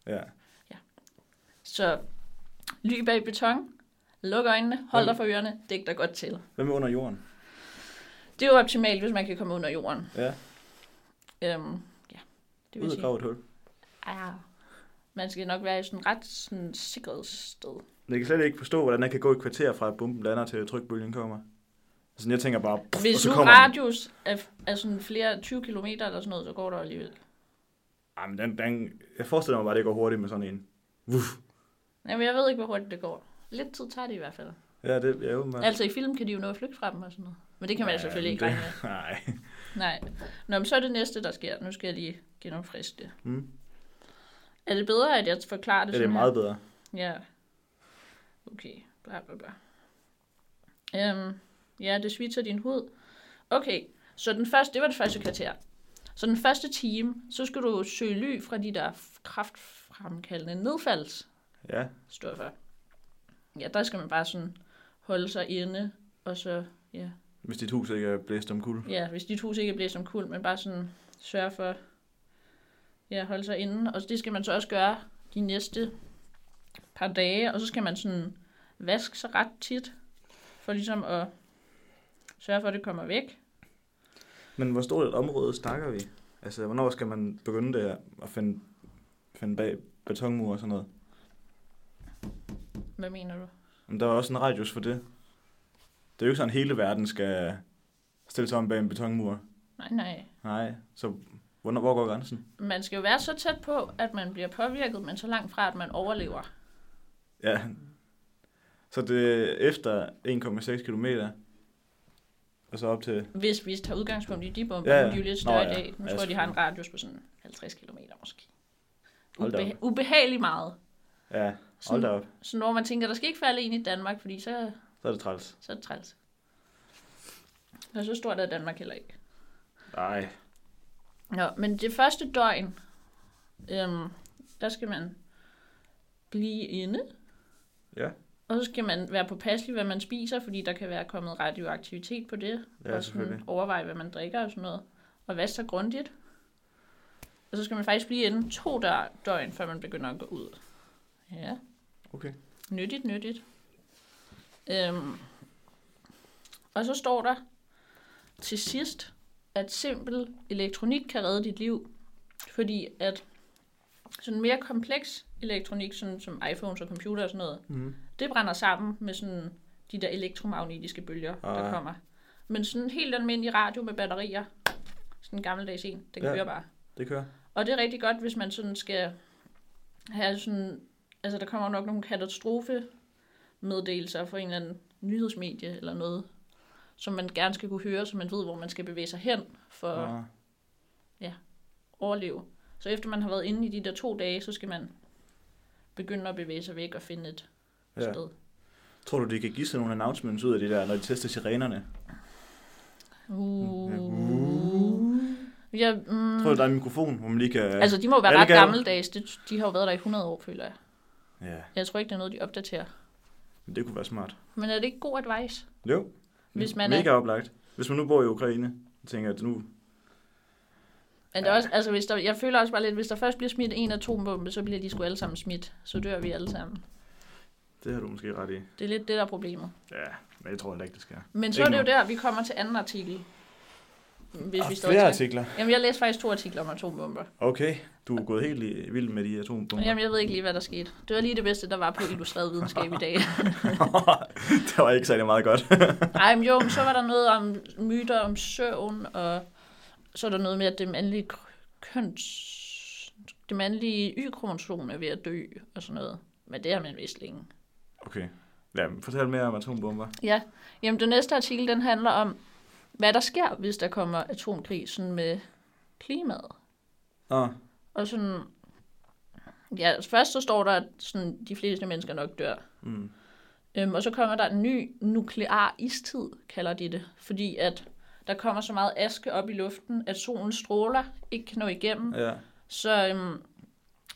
S1: Ja.
S2: Så ly bag beton, luk øjnene, hold dig for ørerne, dæk dig godt til.
S1: Hvad med under jorden?
S2: Det er jo optimalt, hvis man kan komme under jorden.
S1: Ja.
S2: Øhm, ja, det vil
S1: Ud og
S2: sige.
S1: grave et hul.
S2: Ja, man skal nok være i sådan ret sådan sikret sted.
S1: Men Jeg kan slet ikke forstå, hvordan jeg kan gå et kvarter fra, at bomben lander til trykbølgen kommer. Sådan, jeg tænker bare, pff, og
S2: Hvis
S1: så
S2: nu
S1: kommer den.
S2: radius er, er sådan flere 20 km eller sådan noget, så går der alligevel.
S1: Ej, men den, den, jeg forestiller mig bare, at det går hurtigt med sådan en. Wuff.
S2: Jamen, jeg ved ikke, hvor hurtigt det går. Lidt tid tager det i hvert fald.
S1: Ja, det er jo...
S2: Altså, i film kan de jo nå at flygte fra dem og sådan noget. Men det kan man ja, selvfølgelig ikke regne
S1: [laughs]
S2: med.
S1: Nej.
S2: Nej. Nå, men så er det næste, der sker. Nu skal jeg lige genopfriske det.
S1: Mm.
S2: Er det bedre, at jeg forklarer det
S1: Ja, det
S2: sådan
S1: er
S2: her?
S1: meget bedre.
S2: Ja. Okay, bla bla bla. Øhm, ja, det svitser din hud. Okay, så den første, det var det første kvarter. Så den første time, så skal du søge ly fra de der kraftfremkaldende nedfaldsstoffer.
S1: Ja.
S2: Ja, der skal man bare sådan holde sig inde, og så, ja,
S1: Hvis dit hus ikke er blæst om kul.
S2: ja hvis dit hus ikke bliver som kul, men bare sådan sørge for, ja, holde sig inde. Og det skal man så også gøre de næste par dage, og så skal man sådan vaske sig ret tit, for ligesom at sørge for, at det kommer væk.
S1: Men hvor stort et område snakker vi? Altså, hvornår skal man begynde det her at finde, finde bag betonmure og sådan noget?
S2: Hvad mener du?
S1: Men der er også en radius for det. Det er jo ikke sådan, at hele verden skal stille sig om bag en betonmur.
S2: Nej, nej.
S1: Nej, så hvornår, hvor går grænsen?
S2: Man skal jo være så tæt på, at man bliver påvirket, men så langt fra, at man overlever.
S1: Ja, så det er efter 1,6 km, og så op til...
S2: Hvis vi tager udgangspunkt i de bomber,
S1: Ja,
S2: ja,
S1: ja.
S2: ja. de er jo lidt
S1: Nå,
S2: større Nå,
S1: ja.
S2: ja. i dag. Nu
S1: Ja,
S2: tror jeg, de har en radius på sådan 50 km måske.
S1: Hold da op.
S2: Ubeha- ubehageligt meget.
S1: Ja, hold
S2: Sådan,
S1: da op,
S2: Så når man tænker, der skal ikke falde en i Danmark, fordi så,
S1: så er det træls.
S2: så er det træls. Og så stort er Danmark heller ikke.
S1: Nej,
S2: Nå, men det første døgn, øhm, der skal man blive inde.
S1: Ja.
S2: Og så skal man være påpasselig, hvad man spiser, fordi der kan være kommet radioaktivitet på det.
S1: ja
S2: og sådan
S1: selvfølgelig.
S2: overveje, hvad man drikker og sådan noget. Og vaske sig grundigt. Og så skal man faktisk blive inde to dør- døgn, før man begynder at gå ud. Ja.
S1: Okay.
S2: Nyttigt, nyttigt. Øhm, og så står der til sidst, at simpel elektronik kan redde dit liv, fordi at sådan mere kompleks elektronik, sådan som iPhones og computer og sådan noget,
S1: Mm.
S2: det brænder sammen med sådan de der elektromagnetiske bølger, ah.
S1: Ah.
S2: der kommer. Men sådan en helt almindelig radio med batterier, sådan en gammeldags en, den
S1: Ja.
S2: ja. kører bare.
S1: Det kører.
S2: Og det er rigtig godt, hvis man sådan skal have sådan... Altså, der kommer nok nogle katastrofe meddelelser fra en eller anden nyhedsmedie eller noget, som man gerne skal kunne høre, så man ved, hvor man skal bevæge sig hen for at
S1: Nå.
S2: overleve. Så efter man har været inde i de der to dage, så skal man begynde at bevæge sig væk og finde et
S1: Ja.
S2: ja. sted.
S1: Tror du, de kan give sig nogle announcements ud af det der, når de tester sirenerne?
S2: Uh. Ja, mm,
S1: Tror du, der er en mikrofon, hvor man lige kan...
S2: altså, de må jo være
S1: Alle
S2: ret
S1: gader.
S2: gammeldags. De, de har jo været der i 100 år, føler jeg.
S1: Ja,
S2: Jeg tror ikke, det er noget, de opdaterer.
S1: men det kunne være smart.
S2: Men er det ikke god advice?
S1: Jo,
S2: Hvis man er-
S1: mega oplagt. Hvis man nu bor i Ukraine, så tænker jeg, at nu...
S2: Men det er også, altså, hvis der, jeg føler også bare lidt, hvis der først bliver smidt en atombombe, så bliver de sgu alle sammen smidt. Så dør vi alle sammen.
S1: Det har du måske ret i.
S2: Det er lidt det, der er problemet.
S1: Ja, men jeg tror heller ikke, det sker.
S2: Men så
S1: Ikke
S2: er det jo
S1: nu.
S2: der, vi kommer til anden artikel. Hvis vi står
S1: flere
S2: til.
S1: artikler.
S2: Jamen, jeg læste faktisk to artikler om atombomber.
S1: Okay, du er gået helt i, vild med de atombomber.
S2: Jamen, jeg ved ikke lige, hvad der skete. Det var lige det bedste, der var på illustreret videnskab i dag.
S1: [laughs] det var ikke særlig meget godt.
S2: Ej, men jo, men så var der noget om myter om søvn, og så er der noget med, at det mandlige k- køns... Det mandlige y-kromosom er ved at dø, og sådan noget. Men det har man vist længe.
S1: Okay, ja, men fortæl mere om atombomber.
S2: Ja, jamen den næste artikel, den handler om, hvad der sker, hvis der kommer atomkrig sådan med klimaet.
S1: Ah,
S2: Og sådan... Ja, først så står der, at sådan, de fleste mennesker nok dør.
S1: mm.
S2: Øhm, og så kommer der en ny nuklear istid, kalder de det. Fordi at der kommer så meget aske op i luften, at solens stråler ikke kan nå igennem.
S1: ja.
S2: Så øhm,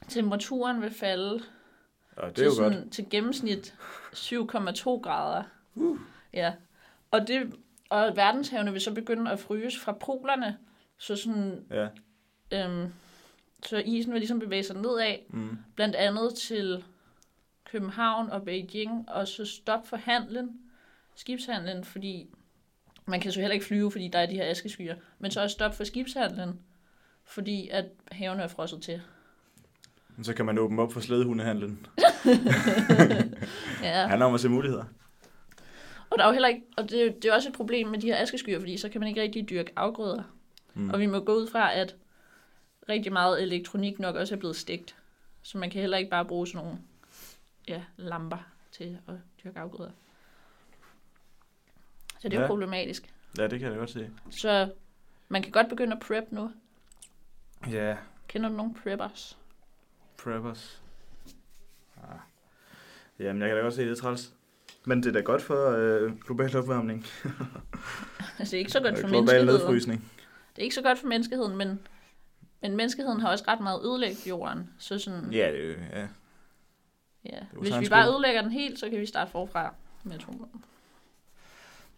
S2: temperaturen vil falde
S1: Og det er jo
S2: til,
S1: godt.
S2: til gennemsnit 7,2 grader. Uh. Ja. Og, det, og verdenshavene vil så begynde at fryse fra polerne. Så, sådan,
S1: Ja,
S2: øhm, så isen vil ligesom bevæge sig nedad,
S1: mm.
S2: blandt andet til København og Beijing, og så stop for handlen, skibshandlen, fordi man kan så heller ikke flyve, fordi der er de her askeskyer, men så også stop for skibshandlen, fordi at havene er frosset til.
S1: Men Så kan man åbne op for slædehundehandlen. Ja.
S2: Ja.
S1: handler om at se muligheder.
S2: Og der er jo heller ikke, og det, er jo- det er også et problem med de her askeskyer, fordi så kan man ikke rigtig dyrke afgrøder.
S1: Mm.
S2: Mm. Og vi må gå ud fra, at rigtig meget elektronik nok også er blevet stegt. Så man kan heller ikke bare bruge sådan nogle ja, lamper til at dyrke afgrøder. Så det er jo
S1: Ja.
S2: problematisk.
S1: Ja, det kan jeg da godt se.
S2: Så man kan godt begynde at prep nu.
S1: Ja,
S2: Kender du nogle preppers? [laughs]
S1: preppers. Ah. Jamen, jeg kan da godt se, det er træls. Men det er da godt for øh, global opvarmning.
S2: Altså det er ikke så godt for
S1: Øh, global
S2: menneskeheden.
S1: nedfrysning.
S2: Det er ikke så godt for menneskeheden, men, men menneskeheden har også ret meget ødelægget jorden. Så sådan,
S1: Ja, det er jo- ja.
S2: ja.
S1: jo
S2: Hvis vi
S1: tegnsprog.
S2: bare ødelægger den helt, så kan vi starte forfra med atombomben.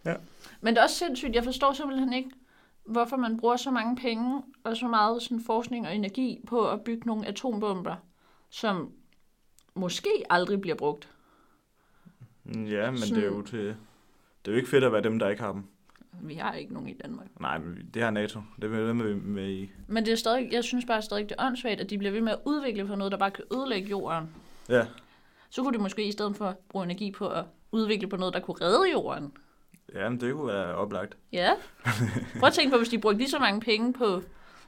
S1: Ja.
S2: Men det er også sindssygt. Jeg forstår simpelthen ikke, hvorfor man bruger så mange penge og så meget sådan forskning og energi på at bygge nogle atombomber, som måske aldrig bliver brugt.
S1: ja, men det er jo til... Det er jo ikke fedt at være dem, der ikke har dem.
S2: Vi har ikke nogen i Danmark.
S1: Nej, men det har NATO. Det er dem, vi med i.
S2: Men det er stadig, jeg synes bare stadig, det er åndssvagt, at de bliver ved med at udvikle på noget, der bare kan ødelægge jorden.
S1: Ja,
S2: Så kunne de måske i stedet for bruge energi på at udvikle på noget, der kunne redde jorden.
S1: ja men det kunne være oplagt.
S2: Ja. Prøv at tænke på, hvis de brugte lige så mange penge på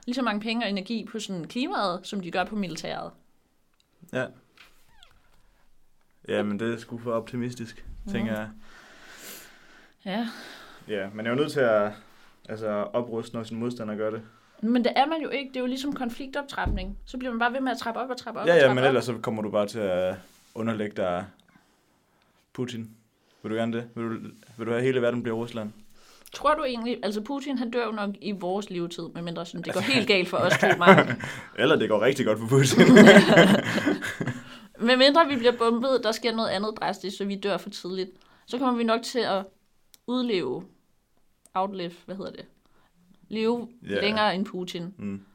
S2: lige så mange penge og energi på sådan klimaet, som de gør på militæret.
S1: Ja. Ja, men det er sgu for optimistisk, tænker jeg.
S2: Ja.
S1: Ja, man er jo nødt til at altså, opruste, når sin modstander gør det.
S2: Men det er man jo ikke. Det er jo ligesom konfliktoptrapning. Så bliver man bare ved med at trappe op og trappe op
S1: Ja,
S2: og
S1: ja,
S2: trappe
S1: men
S2: op.
S1: ellers så kommer du bare til at underlægge dig Putin. Vil du gerne det? Vil du, vil du have at hele verden bliver Rusland?
S2: Tror du egentlig, altså Putin han dør jo nok i vores levetid, medmindre sådan, det går
S1: Altså-
S2: helt galt for os to
S1: [laughs]
S2: mange.
S1: Eller det går rigtig godt for
S2: [laughs]
S1: Putin.
S2: Medmindre vi bliver bombet, der sker noget andet drastisk, så vi dør for tidligt. Så kommer vi nok til at udleve, outlive, hvad hedder det? Leve
S1: Ja.
S2: yeah. længere end Putin.
S1: mm.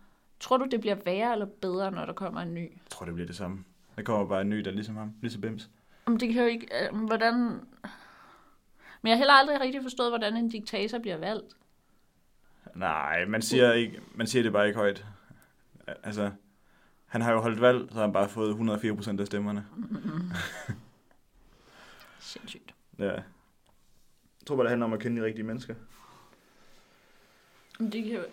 S2: Tror du, det bliver værre eller bedre, når der kommer en ny?
S1: Jeg tror, det bliver det samme. Der kommer bare en ny, der er ligesom ham. Ligesom Bims.
S2: Om det kan jo ikke... Øh, hvordan... Men jeg har heller aldrig rigtig forstået, hvordan en diktator bliver valgt.
S1: Nej, man
S2: Uh.
S1: siger, ikke, man siger det bare ikke højt. Altså, han har jo holdt valg, så har han bare fået 104 procent af stemmerne.
S2: Sindssygt.
S1: Ja. Jeg tror bare, det handler om at kende de rigtige mennesker.
S2: Men det kan jo...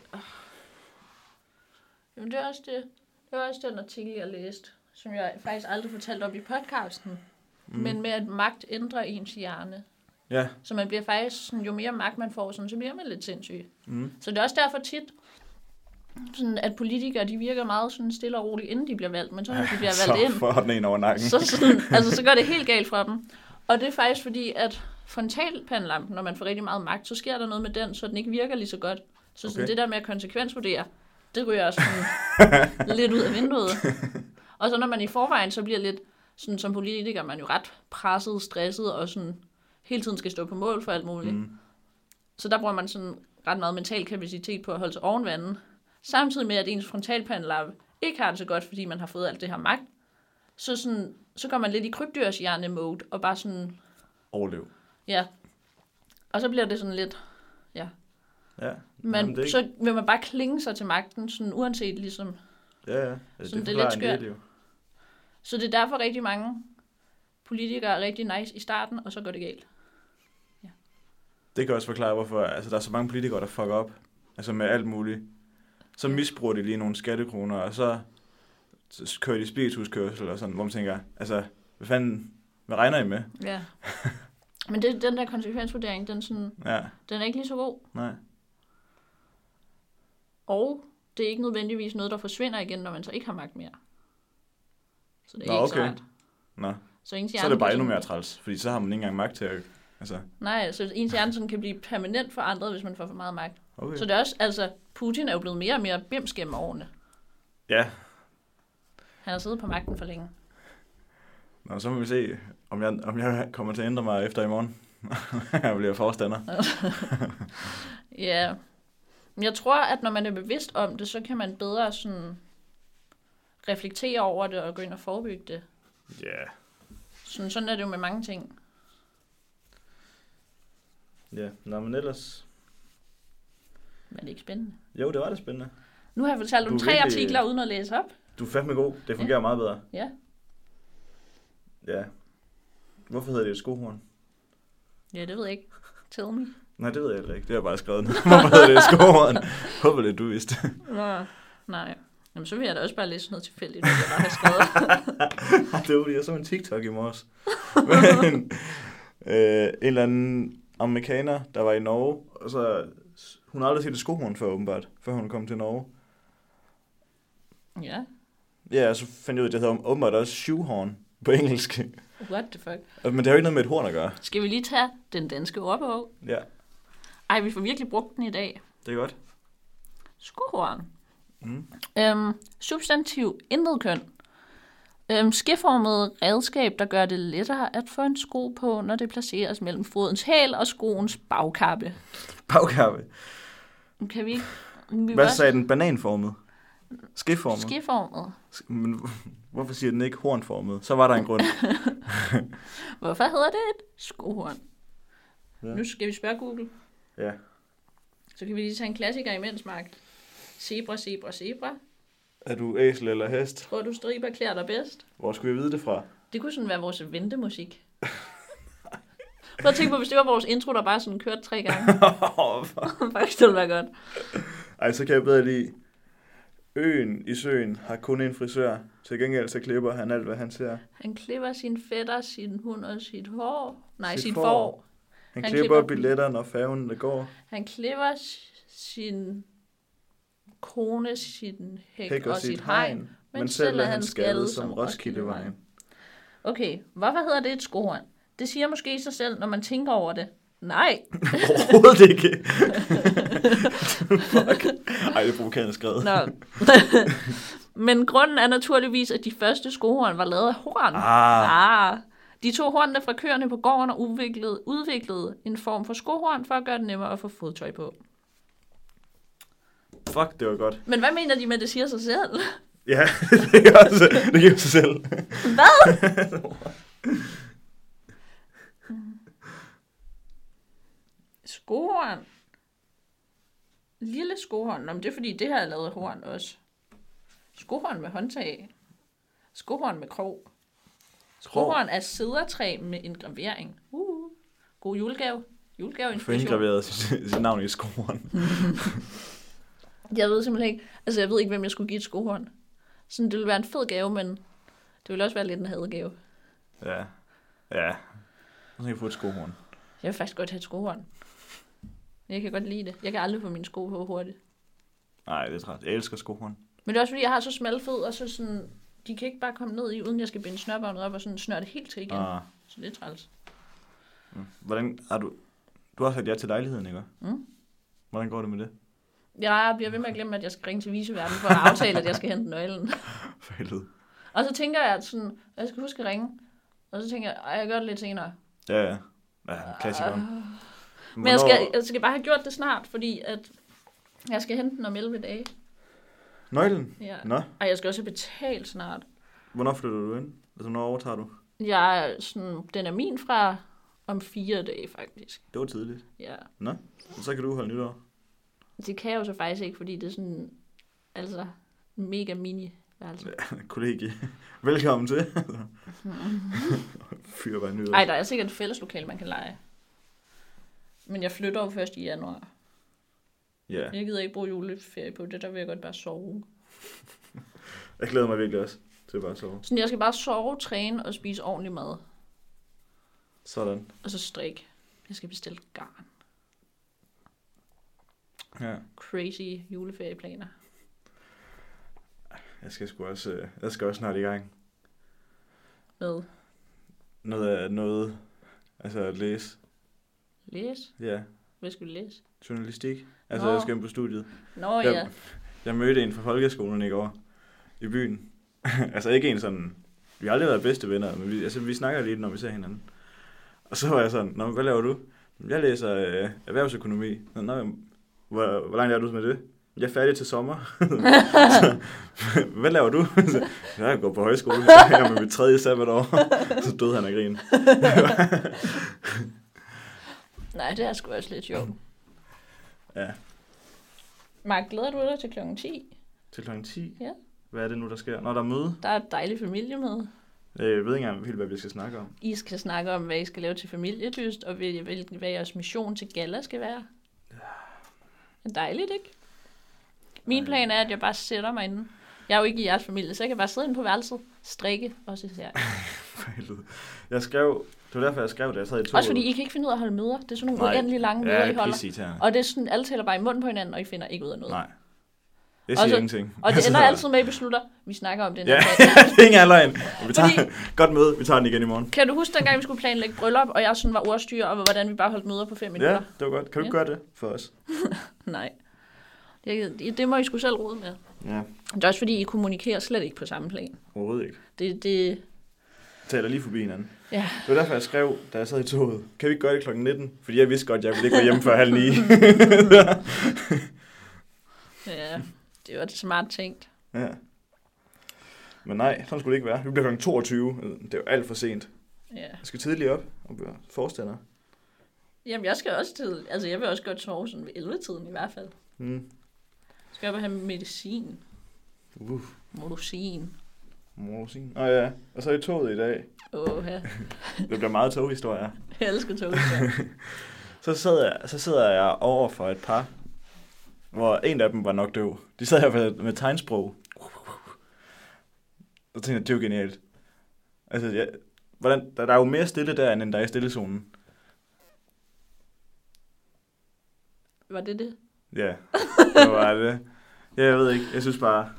S2: Jamen, det er også det. Det var også den artikel, jeg læste, som jeg faktisk aldrig fortalte om i podcasten. Mm. Men med, at magt ændrer ens hjerne.
S1: Ja,
S2: Så man bliver faktisk, sådan, jo mere magt man får, sådan, så bliver man lidt sindssyg.
S1: Mm.
S2: Så det er også derfor tit, sådan, at politikere de virker meget sådan stille og roligt, inden de bliver valgt. Men så når de bliver
S1: [laughs] så
S2: valgt ind,
S1: får den en over nakken.
S2: så,
S1: [laughs]
S2: sådan, altså, så går det helt galt fra dem. Og det er faktisk fordi, at frontalpandelampen, når man får rigtig meget magt, så sker der noget med den, så den ikke virker lige så godt. Så sådan,
S1: Okay.
S2: okay. det der med at konsekvensvurdere, det ryger også sådan
S1: [laughs]
S2: lidt ud af vinduet. Og så når man i forvejen så bliver lidt, sådan, som politiker, man er jo ret presset, stresset og sådan hele tiden skal stå på mål for alt muligt. Mm. Så der bruger man sådan ret meget mental kapacitet på at holde sig oven vandet. Samtidig med, at ens frontalpandelampe ikke har det så godt, fordi man har fået alt det her magt. Så, sådan, så går man lidt i krybdyrshjerne-mode, og bare sådan,
S1: Overlev.
S2: ja. Og så bliver det sådan lidt, ja.
S1: Ja.
S2: Man,
S1: Jamen, det er
S2: Så vil man bare klinge sig til magten, sådan uanset ligesom.
S1: Ja, ja. ja
S2: Sådan, det er
S1: forklarer
S2: lidt
S1: en del
S2: skørt.
S1: jo.
S2: Så det er derfor rigtig mange politikere er rigtig nice i starten, og så går det galt.
S1: Det kan også forklare, hvorfor altså, der er så mange politikere, der fucker op. Altså med alt muligt. Så misbruger de lige nogle skattekroner, og så, så kører de spirituskørsel og sådan, hvor man tænker, altså, hvad fanden, hvad regner I med?
S2: Ja. [laughs] Men det, den der konsekvensvurdering, den, sådan,
S1: Ja,
S2: den er ikke lige så god.
S1: nej.
S2: Og det er ikke nødvendigvis noget, der forsvinder igen, når man så ikke har magt mere. Så det er
S1: Nå,
S2: Nå, ikke
S1: okay.
S2: okay. så rart.
S1: Nå,
S2: Så, ens
S1: så er det bare
S2: kan
S1: endnu
S2: sådan-
S1: mere træls, fordi så har man ikke engang magt til at... Altså,
S2: Nej, så ens hjerne sådan kan blive permanent forandret, hvis man får for meget magt.
S1: okay.
S2: Så det er også, altså, Putin er jo blevet mere og mere bims gennem årene.
S1: Ja,
S2: Han har siddet på magten for længe.
S1: Nå, så må vi se, om jeg, om jeg kommer til at ændre mig efter i morgen. [laughs] jeg bliver forstander.
S2: Ja. Men jeg tror, at når man er bevidst om det, så kan man bedre sådan reflektere over det og gå ind og forebygge det.
S1: Ja. Yeah.
S2: Sådan, sådan er det jo med mange ting.
S1: Ja, nå, men ellers...
S2: Men det er ikke spændende.
S1: Jo, det var det spændende.
S2: Nu har jeg fortalt
S1: Du
S2: om
S1: er
S2: tre
S1: virkelig-
S2: artikler uden at læse op.
S1: Du er fandme god. Det fungerer ja. meget bedre.
S2: Ja.
S1: Ja. Hvorfor hedder det et skohorn?
S2: Ja, det ved jeg ikke. Tell me.
S1: Nej, det ved jeg heller ikke. Det har jeg bare skrevet ned. [laughs] Hvorfor hedder det et skohorn? Håber det, du vidste.
S2: Nå, nej. Jamen, så vil jeg da også bare læse noget tilfældigt, hvad jeg bare har
S1: [laughs]
S2: skrevet.
S1: det var fordi, jeg så en TikTok i morges. [laughs] Men, øh, en eller anden amerikaner, der var i Norge, og så... Hun har aldrig set et skohorn før, åbenbart, før hun kom til Norge.
S2: ja,
S1: Ja, og så fandt jeg ud af, at det hedder åbenbart også shoehorn på engelsk.
S2: what the fuck.
S1: Og- Men det har jo ikke noget med et horn at gøre.
S2: Skal vi lige tage den danske ordbog?
S1: Ja,
S2: Ej, vi får virkelig brugt den i dag.
S1: det er godt.
S2: Skohorn.
S1: Mm.
S2: Øhm, substantiv intet køn. Øhm, skiformet redskab, der gør det lettere at få en sko på, når det placeres mellem fodens hæl og skoens bagkappe.
S1: Bagkappe.
S2: Kan vi ikke... Vi
S1: Hvad
S2: var-
S1: sagde den? Bananformet? Skiformet?
S2: Skiformet.
S1: Sk- Men [laughs] hvorfor siger den ikke hornformet? Så var der en [laughs] grund.
S2: Hvorfor hedder det et skohorn?
S1: Ja.
S2: Ja. Nu skal vi spørge Google.
S1: ja.
S2: Så kan vi lige tage en klassiker imens, Mark. Zebra, zebra, zebra.
S1: Er du æsel eller hest?
S2: Tror du, striber klæder dig bedst?
S1: Hvor skulle jeg vide det fra?
S2: Det kunne sådan være vores ventemusik. Prøv at tænke på, hvis det var vores intro, der bare sådan kørte tre gange. Faktisk, det ville være godt.
S1: [laughs] Ej, så kan jeg bedre lide. Øen i søen har kun en frisør. Til gengæld så klipper han alt, hvad han ser.
S2: Han klipper sin fætter, sin hund og sit hår. Nej,
S1: Sit
S2: sit, sit
S1: får.
S2: får.
S1: Han,
S2: Han
S1: klipper,
S2: klipper-
S1: billetter, når færgen der går.
S2: Han klipper s- sin kone, sin hæk,
S1: Hækker
S2: og sit hegn.
S1: Men selv er han skaldet som Roskildevejen.
S2: Okay, hvorfor hedder det et skohorn? Det siger måske sig selv, når man tænker over det. Nej,
S1: [laughs] Overhovedet [laughs] ikke. Fuck. Ej, det er provokerende skrevet.
S2: [laughs] Nå. Men grunden er naturligvis, at de første skohorn var lavet af horn.
S1: Ah,
S2: Ah. De to hornene fra køerne på gården og udviklede, udviklede en form for skohorn for at gøre det nemmere at få fodtøj på.
S1: fuck, det var godt.
S2: Men hvad mener de med, at det siger sig selv?
S1: Ja, [laughs] det, er også, det giver sig selv.
S2: Hvad? skohorn. Lille skohorn. Nå, men det er fordi, det her er lavet af horn også. Skohorn med håndtag. Skohorn med krog. Skohorn er sædertræ med en gravering. Uh, god julegave. Julegave
S1: Få
S2: inspiration.
S1: indgraveret sit, sit navn i skoren.
S2: Jeg ved simpelthen ikke, altså jeg ved ikke, hvem jeg skulle give et skohorn. Sådan, det ville være en fed gave, men det ville også være lidt en hadegave.
S1: Ja. Ja. Så kan jeg få et skohorn.
S2: Jeg vil faktisk godt have et skohorn. Jeg kan godt lide det. Jeg kan aldrig få mine sko på hurtigt.
S1: Nej, det er træt. Jeg elsker skohorn.
S2: Men det er også fordi, jeg har så smalle fødder, og så sådan, de kan ikke bare komme ned i, uden jeg skal binde snørbåndet op og sådan snøre det helt til igen.
S1: Og,
S2: Så det er træls.
S1: mm. hvordan har du... Du har sagt ja til lejligheden, ikke?
S2: Mm.
S1: Hvordan går det med det?
S2: Jeg bliver ved med at glemme, at jeg skal ringe til viseverden for at aftale, at jeg skal hente nøglen. [laughs]
S1: For helvede.
S2: Og så tænker jeg, at sådan, jeg skal huske at ringe. Og så tænker jeg, at jeg gør det lidt senere.
S1: Ja, ja. Ja, klassikeren.
S2: Ah. Men jeg skal, jeg skal bare have gjort det snart, fordi at jeg skal hente den om 11 dage.
S1: Nøglen?
S2: Ja.
S1: Nå,
S2: Og jeg skal også betale snart.
S1: hvornår flytter du ind? Altså, hvornår overtager du?
S2: Jeg er sådan, den er min fra om fire dage, faktisk.
S1: Det var tidligt.
S2: Ja.
S1: Nå, så kan du holde nytår. [laughs]
S2: Det kan jeg jo så faktisk ikke, fordi det er sådan, altså, en mega mini værelse.
S1: Kollegi, velkommen
S2: [laughs]
S1: til. Fyr bare nytår.
S2: Ej, der er sikkert et fælleslokale, man kan lege. Men jeg flytter jo først i januar.
S1: Ja,
S2: Jeg gider ikke bruge juleferie på det, der vil jeg godt bare sove.
S1: jeg glæder mig virkelig også til bare at sove.
S2: Sådan, jeg skal bare sove, træne og spise ordentlig mad.
S1: Sådan.
S2: Og så strik. Jeg skal bestille garn.
S1: Ja.
S2: Crazy juleferieplaner.
S1: Jeg skal sgu også, øh, jeg skal også snart i gang.
S2: Med
S1: Noget af noget, altså at læse.
S2: læs.
S1: Ja,
S2: Hvad skal vi læse?
S1: journalistik. Altså,
S2: Nå.
S1: jeg skal ind på studiet.
S2: Nå
S1: Ja.
S2: ja. ja.
S1: Jeg mødte en fra folkeskolen i går i byen. [laughs] altså ikke en sådan, vi har aldrig været bedste venner, men vi, altså, vi snakker lige, når vi ser hinanden. Og så var jeg sådan, Nå, men hvad laver du? Jeg læser øh, erhvervsøkonomi. Nå, Nå, jamen, hvor, hvor langt er du med det? Jeg er færdig til
S2: [laughs]
S1: sommer. [laughs] så, hvad laver du? [laughs] så, "Nå, jeg går på højskole. [laughs] Jeg er med mit tredje sabbatår. [laughs] så døde han af grin.
S2: Nej, det er sgu også lidt sjovt.
S1: Ja.
S2: Mark, glæder du dig til klokken 10?
S1: Til klokken 10.
S2: Ja.
S1: Hvad er det nu, der sker? Når der er møde.
S2: Der er et dejligt familie med.
S1: Øh, Jeg ved ikke engang helt, hvad vi skal snakke om. [laughs]
S2: I skal snakke om, hvad I skal lave til familiedyst, og hvil- hvilken- hvad jeres mission til gala skal være. Det er dejligt, ikke? Min plan er, at jeg bare sætter mig inde. Jeg er jo ikke i jeres familie, så jeg kan bare sidde inde på værelset, strikke og se serier.
S1: For helvede. Jeg skrev, det var derfor, jeg skrev det. Jeg sad i to
S2: Også fordi I kan ikke finde ud af at holde møder. Det er sådan nogle
S1: Nej.
S2: uendelig lange møder,
S1: Ja,
S2: I
S1: det er
S2: holder.
S1: pisseirriterende.
S2: Og det er sådan, alle taler bare i munden på hinanden, og I finder ikke ud af noget.
S1: Nej. Jeg
S2: Og
S1: siger
S2: så-
S1: ingenting. [laughs]
S2: Og det
S1: Altså,
S2: ender altid med, at I beslutter, vi snakker om det.
S1: Ja,
S2: Ja.
S1: [laughs] det er ikke engang løgn. Vi tager,
S2: Fordi-
S1: [laughs] Godt møde, vi tager den igen i morgen.
S2: Kan du huske, dengang vi skulle planlægge bryllup, og jeg sådan var ordstyre, og hvordan vi bare holdt møder på fem
S1: Ja,
S2: minutter?
S1: det var godt. Kan du
S2: Ja.
S1: gøre det for os?
S2: Nej. Det, det- det må I skulle selv rode med.
S1: Ja,
S2: Det er også fordi, I kommunikerer slet ikke på samme plan.
S1: overhovedet ikke.
S2: Det, det,
S1: Jeg taler lige forbi hinanden.
S2: ja.
S1: Det var derfor, jeg skrev, da jeg sad i toget, kan vi ikke gøre det klokken 19? Fordi jeg vidste godt, jeg ville ikke være hjemme før halv
S2: [laughs]
S1: ni.
S2: ja, det var et smart tænkt.
S1: ja. Men nej, sådan skulle det ikke være. Det bliver klokken 22. Det er jo alt for sent.
S2: Ja.
S1: Jeg skal tidligt op og blive forstander.
S2: Jamen, jeg skal også til, altså jeg vil også godt sove sådan ved 11-tiden i hvert fald.
S1: Mm.
S2: Jeg skal op og have medicin.
S1: Uh,
S2: Modusin.
S1: morsin. Nå ja, og så i toget i dag.
S2: Åh, jeg
S1: Det bliver meget toghistorier.
S2: elsker toghistorier.
S1: Så sidder, jeg, så sidder jeg over for et par, hvor en af dem var nok døv. De sad her med, med tegnsprog. Og tænkte, jeg, det er jo genialt. Altså, jeg, hvordan, der, der er jo mere stille der, end der er i stillezonen.
S2: Var det det?
S1: Ja, det var det. Ja, jeg ved ikke. Jeg synes bare...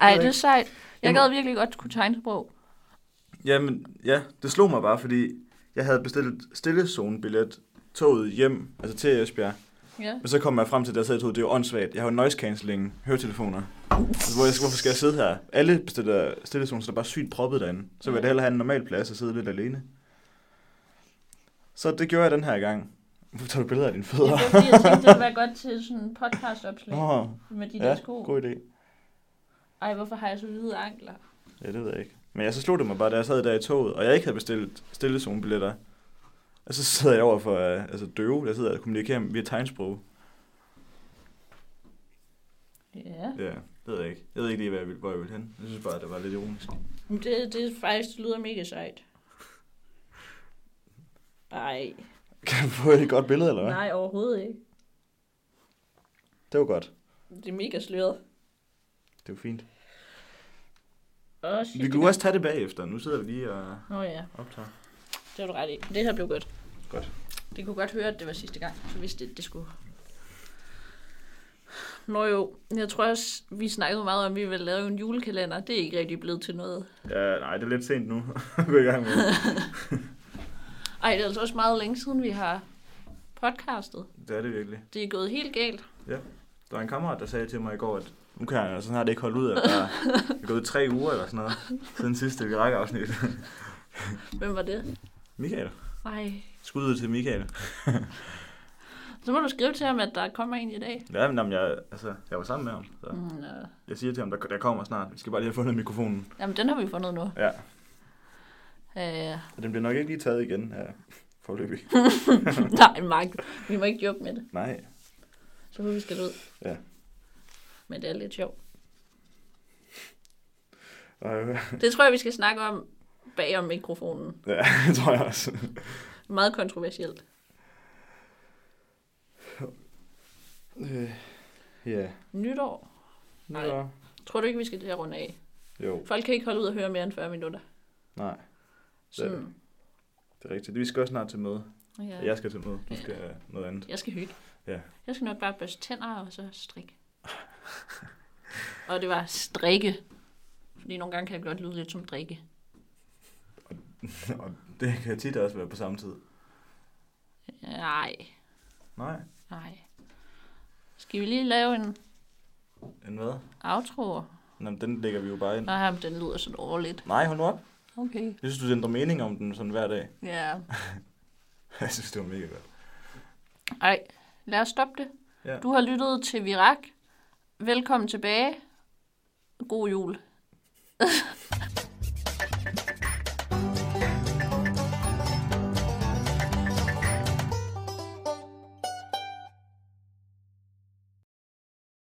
S2: Ej,
S1: ved
S2: det er
S1: ikke.
S2: sejt. Jeg
S1: Jamen-
S2: gad virkelig godt kunne tegnsprog.
S1: Jamen, ja, det slog mig bare, fordi jeg havde bestilt stillezonebillet toget hjem, altså til Esbjerg. [laughs]
S2: Ja.
S1: Men så kom jeg frem til, at jeg sad i toget, det er jo åndssvagt. Jeg har jo noise cancelling høretelefoner. Altså, hvor jeg, hvorfor skal jeg sidde her? Alle bestiller stillezonen, så der er bare sygt proppet derinde. Så vil jeg da hellere have en normal plads og sidde lidt alene. Så det gjorde jeg den her gang. Hvorfor tager du billeder af dine
S2: Det
S1: fødder?
S2: er fordi, jeg tænkte, det ville være godt til sådan en podcastopslag
S1: Nå,
S2: med de der
S1: ja,
S2: sko.
S1: god idé.
S2: Ej, hvorfor har jeg så hvide ankler?
S1: Ja, det ved jeg ikke. Men jeg så slog det mig bare, da jeg sad der i toget, og jeg ikke havde bestilt stillezonebilletter. Og så sidder jeg over for øh, altså døve, der sidder og kommunikerer via tegnsprog.
S2: Ja.
S1: Ja, det ved jeg ikke. Jeg ved ikke lige, hvad jeg vil, hvor jeg vil hen. Jeg synes bare, det var lidt ironisk. [laughs]
S2: Men Det, det er faktisk det lyder mega sejt. Ej,
S1: Kan jeg få et godt billede, eller hvad?
S2: nej overhovedet ikke.
S1: Det var godt.
S2: Det er mega sløret.
S1: Det er jo fint.
S2: Åh,
S1: Vi kunne også tage det bagefter. Nu sidder vi lige og
S2: Nå ja,
S1: optager.
S2: det har du ret i. Det her blev godt.
S1: Godt.
S2: Det kunne godt høre, at det var sidste gang, så vidste det, det skulle. Nå jo, jeg tror også, vi snakkede meget om, at vi ville lave en julekalender. Det er ikke rigtig blevet til noget.
S1: Ja, nej, det er lidt sent nu. [laughs] Gå i gang med det.
S2: Ej, det er altså også meget længe siden, vi har podcastet.
S1: Det er det virkelig.
S2: Det er gået helt galt.
S1: Der var en kammerat, der sagde til mig i går, at nu kan jeg altså snart ikke holde ud, at der er gået tre uger eller sådan noget, siden sidste vi rækker afsnit.
S2: Hvem var det?
S1: [laughs] Michael.
S2: Ej,
S1: Skud ud til Michael.
S2: så må du skrive til ham, at der kommer en i dag.
S1: Ja, men jamen, jeg, altså, jeg var sammen med ham. Så
S2: Mm, øh.
S1: jeg siger til ham, der, der kommer snart. Vi skal bare lige have fundet mikrofonen.
S2: Jamen, den har vi fundet nu.
S1: Ja,
S2: Øh, [laughs]
S1: og den bliver nok ikke lige taget igen her forløbig.
S2: nej, Mark, vi må ikke joke med det.
S1: [laughs] Nej.
S2: Så får vi skal ud.
S1: Ja.
S2: Men det er lidt sjovt.
S1: Øh,
S2: Det tror jeg, vi skal snakke om bag om mikrofonen.
S1: [laughs] ja, det tror jeg også.
S2: Meget kontroversielt.
S1: Øh, ja.
S2: Nytår. Nej.
S1: Nå.
S2: Tror du ikke, vi skal til at runde af?
S1: Jo,
S2: Folk kan ikke holde ud og høre mere end 40 minutter.
S1: nej,
S2: Sådan.
S1: det er rigtigt. Vi skal også snart til møde.
S2: Ja.
S1: Jeg skal til møde. Du skal øh, noget andet.
S2: Jeg skal hygge.
S1: Ja.
S2: Jeg skal nok bare børste tænder og så strikke. [laughs] og det var strikke. Fordi nogle gange kan jeg godt lyde lidt som drikke.
S1: Og det kan tit også være på samme tid.
S2: Nej,
S1: Nej.
S2: nej. Skal vi lige lave en
S1: En hvad?
S2: outro?
S1: Nå, men den lægger vi jo bare ind.
S2: Nej, men den lyder så dårligt.
S1: Nej, hold nu op.
S2: Okay.
S1: Jeg synes, du ændrer mening om den sådan hver dag. [laughs]
S2: Ja.
S1: Jeg synes, det var mega godt.
S2: Ej, lad os stoppe det.
S1: Ja.
S2: Du har lyttet til Virak. Velkommen tilbage. God jul.